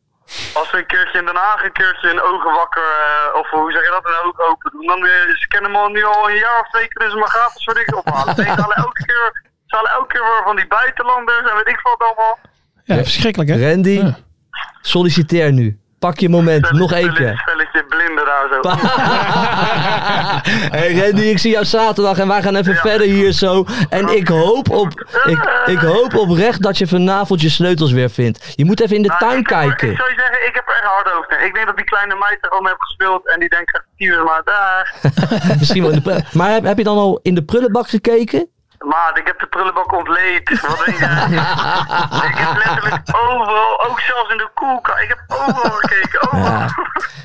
Als we een keertje in Den Haag een keertje een ogen wakker, eh, of hoe zeg je dat, een oog open doen, dan eh, ze kennen me al nu al een jaar of twee, kunnen ze me gratis voor niks ophalen. Nee, ze halen elke keer, ze halen elke keer weer van die buitenlanders en weet ik wat allemaal.
Ja, verschrikkelijk hè?
Randy,
Ja.
solliciteer nu. Pak je moment, nog één
Spelletje,
keer.
spelletje blinden daar zo.
Hey Randy, ik zie jou zaterdag en wij gaan even verder hier zo. En ik hoop, op, ik, ik hoop oprecht dat je vanavond je sleutels weer vindt. Je moet even in de
Nou,
tuin
ik heb- Ik
kijken.
zou je zeggen, ik heb er echt hard hoofd in. Ik denk dat die kleine meid er gewoon mee heeft gespeeld en die denkt echt, "Tiever, maar daar.
Misschien wel in de pr- maar heb, heb je dan al in de prullenbak gekeken?
Maat, ik heb de prullenbak ontleed. Wat denk je? ik heb letterlijk overal, ook zelfs in de koelkast, ik heb overal gekeken, overal.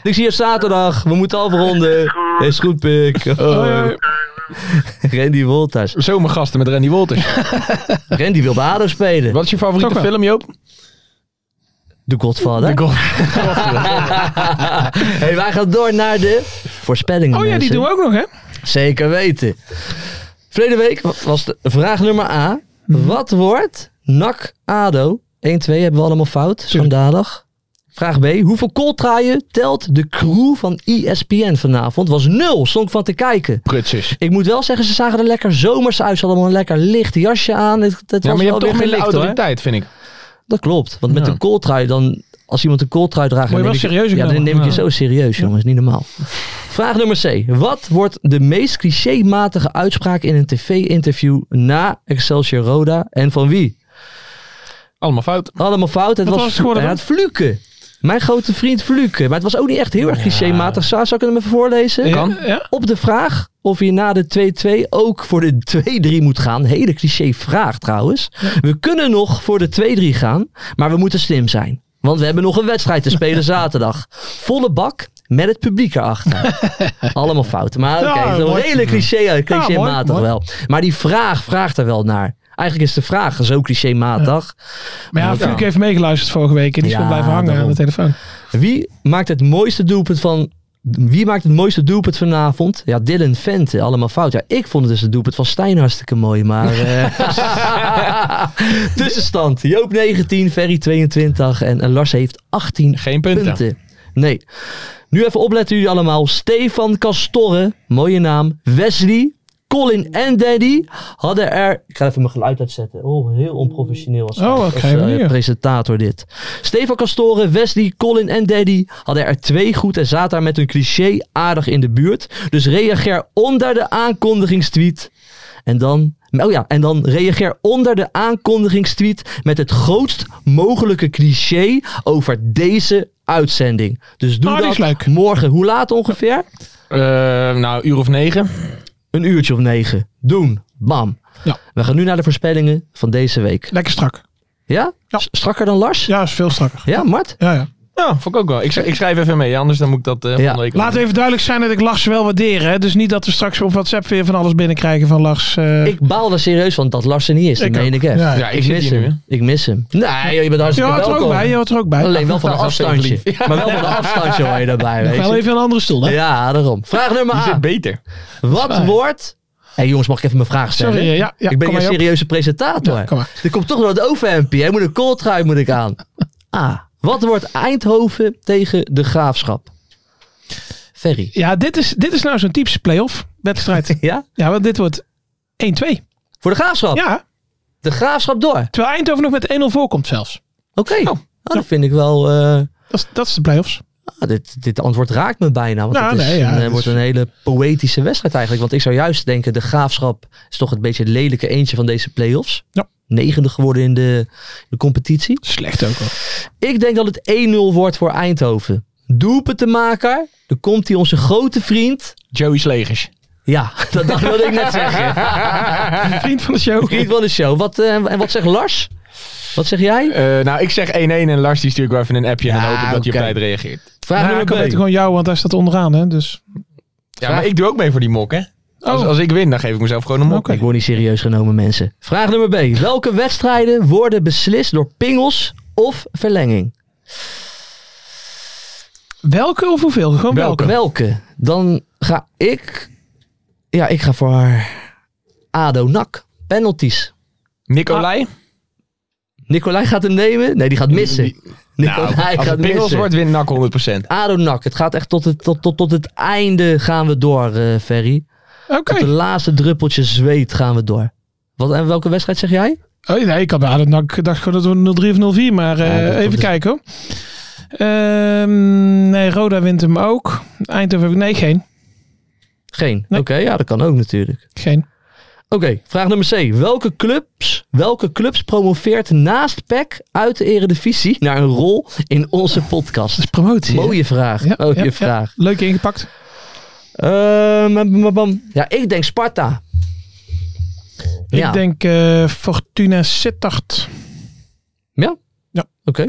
Ik zie je zaterdag. We moeten afronden. Is goed, pik. Hoi. Randy Wolters.
Zomergasten met Randy Wolters.
Randy wil bij ADO spelen.
Wat is je favoriete
Toch wel.
film, Joop?
De Godfather.
God.
hey, wij gaan door naar de voorspellingen.
Oh ja, die
mensen.
doen we ook nog hè?
Zeker weten. Verleden week wa- was de vraag nummer A.
Mhm.
Wat wordt NAC ADO? 1, 2 hebben we allemaal fout. Schandalig. Vraag B. Hoeveel kooltraaien telt de crew van E ESPN vanavond? Was nul, stond ik van te kijken.
Prutsers.
Ik moet wel zeggen, ze zagen er lekker zomers uit. Ze hadden allemaal een lekker licht jasje aan. Het, het
Ja,
was
maar je hebt
wel
toch
weer
minder
gelicht, hoor.
autoriteit, vind ik.
Dat klopt. Want met
Ja.
een kooltrui dan... Als iemand een kooltrui draagt...
Moet je
dan
wel
neem ik-
serieus ook
Ja, dan
nemen.
neem ik je zo
Ja.
serieus, jongens. Niet normaal. Vraag nummer C. Wat wordt de meest clichématige uitspraak in een tv-interview na Excelsior Roda? En van wie?
Allemaal fout.
Allemaal fout. Het
Wat
was,
was het geworden
ja,
dan?
het Fluken. Mijn grote vriend Fluken. Maar het was ook niet echt heel erg clichématig. Zou, zou ik hem even voorlezen?
Kan.
Ja?
Op de vraag of je na de 2-2 ook voor de 2-3 moet gaan. Hele cliché vraag trouwens. We kunnen nog voor de 2-3 gaan, maar we moeten slim zijn. Want we hebben nog een wedstrijd te spelen zaterdag. Volle bak met het publiek erachter. Allemaal fouten. Maar oké,
Ja,
okay, zo'n
mooi.
hele cliché, eh,
mooi,
clichématig
mooi.
wel. Maar die vraag vraagt er wel naar. Eigenlijk is de vraag zo clichématig.
Maar ja, Fluke heeft meegeluisterd vorige week en die is
Ja,
gewoon blijven hangen aan
daarom.
de telefoon.
Wie maakt het mooiste doelpunt van. Wie maakt het mooiste doelpunt vanavond? Ja, Dylan Vente. Allemaal fout. Ja, ik vond het dus het doelpunt van Stijn hartstikke mooi. Maar eh, tussenstand. Joop 19, Ferry 22 en eh, Lars heeft 18
Geen punten.
punten. Nee. Nu even opletten jullie allemaal. Stefan Castorre, mooie naam. Wesley, Colin en Daddy hadden er... Ik ga even mijn geluid uitzetten. Oh, heel onprofessioneel was
Oh, wat
als
krijgen we
eh,
nu?
presentator dit. Stefan Castoren, Wesley, Colin en Daddy hadden er twee goed en zaten daar met hun cliché aardig in de buurt. Dus reageer onder de aankondigingstweet. En dan... Oh ja, en dan reageer onder de aankondigingstweet met het grootst mogelijke cliché over deze uitzending. Dus doe
Oh, die is
dat
leuk.
morgen. Hoe laat ongeveer?
Eh, nou, uur of negen.
Een uurtje of negen. Doen. Bam. We gaan nu naar de voorspellingen van deze week.
Lekker strak.
Ja? S- Strakker dan Lars?
Ja, is veel strakker.
Ja, Mart?
Ja, ja.
Ja, vond ik ook wel. Ik, ik schrijf even mee, anders dan moet ik dat eh volgende week
Laat even duidelijk zijn dat ik Lars wel waardeer. Hè? Dus niet dat we straks op WhatsApp weer van alles binnenkrijgen van Lars. eh.
Ik baal er serieus van dat Lars er niet is. Dat
Ik
meen
ook.
ik echt.
Ja, ja.
Ja, ik zit
mis
hier nu,
hem. Ik mis hem. Nee, joh, je bent
je
hartstikke
hoort er
welkom.
ook bij. Je hoort er ook bij.
Alleen wel van een
Nou, dat vind ik
afstandje. Maar wel van een afstandje hoor je daarbij.
Nog
Weet
wel
je.
even een andere stoel. Hè?
Ja, daarom. Vraag nummer
Die zit
A.
beter.
Wat wordt... Hé jongens, mag ik even mijn vraag stellen?
Sorry, eh, ja, ja,
ik ben hier
kom
een
maar, Joop.
serieuze presentator.
Ja, kom maar.
Er komt toch nog het overhempje. hè? moet een kooltrui moet ik aan. A. Wat wordt Eindhoven tegen de Graafschap? Ferry.
Ja, dit is, dit is nou zo'n typische play-off wedstrijd.
Ja?
ja, want dit wordt 1-2.
Voor de Graafschap?
Ja,
De Graafschap door. Oké.
terwijl Eindhoven nog met 1-0 voorkomt zelfs.
Oh, dat vind ik wel... eh,
Dat is, dat is de play-offs.
Ah, dit, dit antwoord raakt me bijna. Want
Nou,
het is
nee, ja,
een, eh,
het is-
wordt een hele poëtische wedstrijd eigenlijk. Want ik zou juist denken, de graafschap is toch een beetje het lelijke eentje van deze play-offs.
Ja.
Negende geworden in de, de competitie.
Slecht ook al.
Ik denk dat het 1-0 wordt voor Eindhoven. Doelpuntenmaker. Dan komt hij onze grote vriend.
Joey Slegers.
Ja, dat, dat wilde ik net zeggen.
Vriend van de show.
Vriend van de show. Wat, eh, en wat zegt Lars? Wat zeg jij?
Eh, nou, ik zeg 1-1 en Lars die stuurt wel even een appje en
Ja,
dan hoop ik dat je
oké.
op tijd reageert.
Vraag
Nou, ik kan
nummer
beter
B.
gewoon jou, want hij staat onderaan. Hè? Dus.
Ja, maar ik doe ook mee voor die mok, hè. Als,
Oh.
als ik win, dan geef ik mezelf gewoon een mok.
Oké.
Ik word niet serieus genomen, mensen. Vraag nummer B. Welke wedstrijden worden beslist door pingels of verlenging?
Welke of hoeveel? Gewoon welke.
Welke? Dan ga ik... Ja, ik ga voor ADO NAC. Penalties.
Nicolai?
Nicolai gaat hem nemen. Nee, die gaat missen. Nicolai gaat
als het pingels
missen.
wordt, wint NAC 100%.
ADO NAC. Het gaat echt tot het, tot, tot, tot het einde gaan we door, eh, Ferry.
Oké.
Tot de laatste druppeltje zweet gaan we door. Wat, en welke wedstrijd zeg jij?
Oh, nee, ik had bij ADO NAC gedacht gewoon dat we 0-3 of 0-4, maar eh,
Ja, dat
even
komt-
kijken hoor. Ehm, nee, Roda wint hem ook. Eindhoven heb ik... Nee, geen.
Geen.
Nee.
Oké, ja, dat kan ook natuurlijk.
Geen.
Oké, vraag nummer C. Welke clubs, welke clubs promoveert naast PEC uit de Eredivisie naar een rol in onze podcast?
Dat is promotie. hè?
Mooie vraag.
Ja,
mooie
ja, ja.
vraag.
Leuk ingepakt.
Ehm, bam, bam, bam. ja, ik denk Sparta. ja.
Ik denk eh, Fortuna Sittard.
Ja?
Ja.
Oké.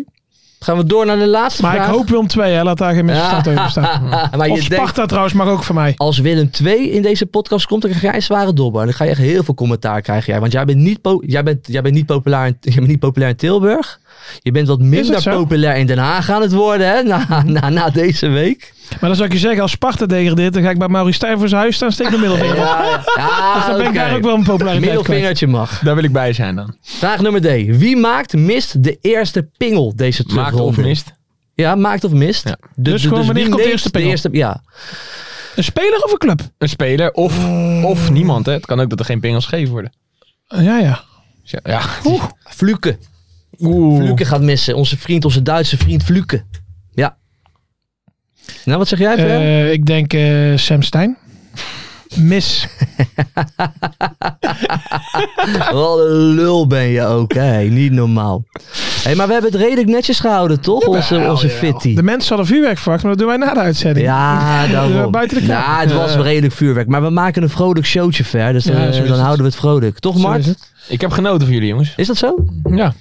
Gaan we door naar de laatste
Maar
vraag.
ik hoop Willem 2, hè. Laat daar geen misverstand over staan.
maar je
Of
denkt,
Sparta trouwens mag ook voor mij.
als Willem 2 in deze podcast komt, dan krijg jij een zware dobber. Dan ga je echt heel veel commentaar krijgen. Jij. Want jij bent, niet po- jij, bent, jij, bent niet populair in, jij bent niet populair in Tilburg. Je bent wat minder
het zo?
populair in Den Haag aan het worden, hè? Na, na, na deze week.
Maar dan zou ik je zeggen, als Sparta degradeert, dan ga ik bij Maurice Stijn voor zijn huis staan en steek mijn middelvinger. op.
Ja, ja
Dus dan ben ik
oké.
daar ook wel een populariteit kwijt.
Middelvingertje mag.
Daar wil ik bij zijn dan.
Vraag nummer D. Wie maakt mist de eerste pingel deze
Maakt
terugronde?
of mist.
Ja, maakt of mist.
Ja.
De-
Dus gewoon
wie
wanneer komt de
neemt
eerste pingel?
ja.
Een speler of een club?
Een speler of, of niemand, hè. Het kan ook dat er geen pingels gegeven worden.
Eh, Ja, ja.
Dus ja, ja.
Fluke.
Oeh.
Fluke gaat missen. Onze vriend, onze Duitse vriend Fluke. Ja. Nou, wat zeg jij? Fer?
Eh, ik denk eh, Sam Stein. Mis.
Wat een lul ben je ook, hè? Niet normaal. hey, maar we hebben het redelijk netjes gehouden, toch? Onze, onze fitty.
De mensen hadden vuurwerk verwacht, maar dat doen wij na de uitzending.
Ja, daarom.
Buiten de kamer.
Ja, het was
Eh.
redelijk vuurwerk. Maar we maken een vrolijk showtje ver. Dus dan,
Ja, zo is
dan
het.
houden we het vrolijk. Toch,
Zo
Mart?
is
Is,
het.
Ik heb genoten van jullie, jongens.
dat zo?
Ja.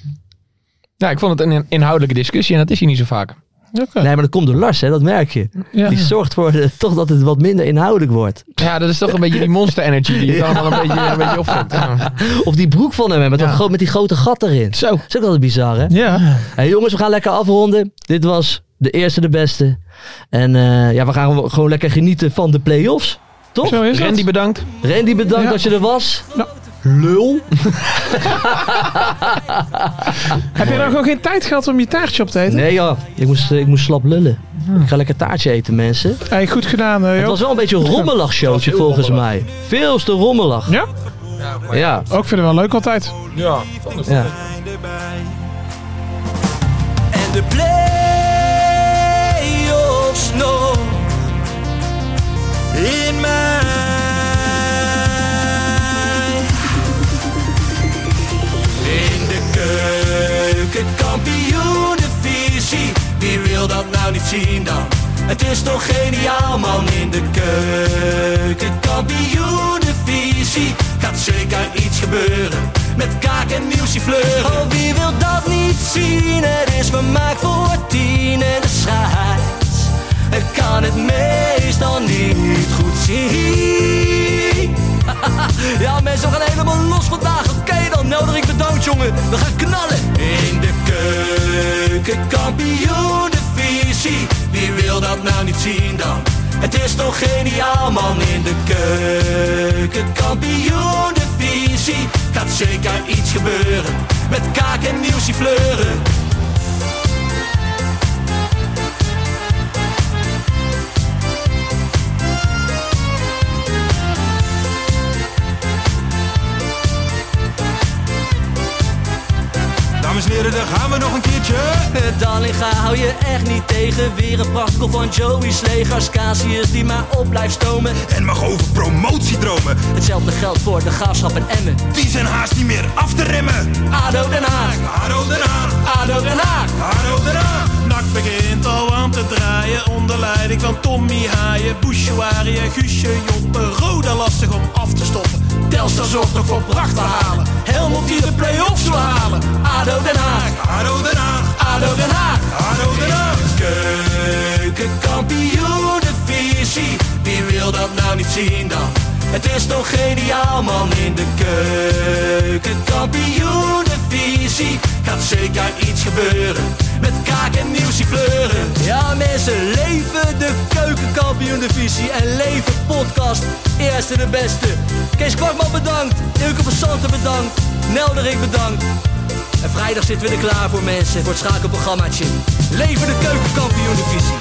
Ja, ik vond het een in- inhoudelijke discussie en dat is hier niet zo vaak.
Oké.
Nee, maar dat komt door Lars, hè? Dat merk je.
Ja.
Die zorgt voor eh, toch dat het wat minder inhoudelijk wordt.
Ja, dat is toch een beetje die monster energy die het allemaal een beetje, een beetje opvangt. Ja.
Of die broek van hem, hè, met, dat gro- met die grote gat erin.
Zo.
Dat is ook altijd bizar, hè?
Ja.
Hey, jongens, we gaan lekker afronden. Dit was de eerste, de beste. En eh, ja, we gaan gewoon lekker genieten van de play-offs. Toch?
Zo is
Randy,
het.
bedankt.
Randy, bedankt
Ja.
dat je er was.
Ja.
Lul.
Heb je nou gewoon geen tijd gehad om je taartje op te eten?
Nee joh, ik moest, eh, ik moest slap lullen. Ik ga lekker taartje eten, mensen.
Hey, goed gedaan, eh,
Het
joh.
was wel een beetje een rommelig showtje volgens mij. Veel te rommelig.
Ja?
Ja.
Ook vinden we wel leuk altijd.
ja.
En de play-offs nog in mij. In de keuken, kampioen, Wie wil dat nou niet zien dan?
Het is toch geniaal man in de keuken. Kampioenenvisie. Gaat zeker iets gebeuren. Met kaak en muziek fleuren. Oh wie wil dat niet zien? Het is vermaakt voor tien en de scheids. Ik kan het meestal niet goed zien. Ja, mensen, we gaan helemaal los vandaag. Oké, dan nodig ik de dood, jongen. We gaan knallen. In de keuken, kampioen, de visie. Wie wil dat nou niet zien dan? Het is toch geniaal, man. In de keuken, kampioen, de visie. Gaat zeker iets gebeuren. Met kaak en nieuwsie fleuren.
Dames en heren, daar gaan we nog een keertje.
Dallinga Eh, hou je echt niet tegen. Weer een prachtkel van Joey's legers. Casius die maar op blijft stomen. En mag over promotie dromen. Hetzelfde geldt voor de gaafschap en Emmen. Die zijn haast niet meer af te remmen. ADO Den Haag. ADO Den Haag. ADO Den Haag.
ADO Den Haag. NAC begint al aan te draaien onder leiding van Tommy Haaien, Bouchouari en Guusje Joppen. Roda lastig om af te stoppen. Telstar zorgt nog voor pracht te halen. Helmond die de play-offs wil halen. ADO Den Haag. ADO Den Haag.
ADO Den Haag.
ADO Den Haag.
Keukenkampioenenvisie. Wie wil dat nou niet zien dan? Het is toch geniaal man in de keukenkampioenenvisie. Gaat zeker iets gebeuren. Met kaak en nieuwsie kleuren. Ja mensen, leven de keukenkampioenenvisie. En leven podcast. Eerste de beste. Kees Kwakman bedankt. Ilke van Santen bedankt. Nelderik bedankt. En vrijdag zitten we er klaar voor mensen, voor het schakelprogrammaatje. Leven de keukenkampioen divisie.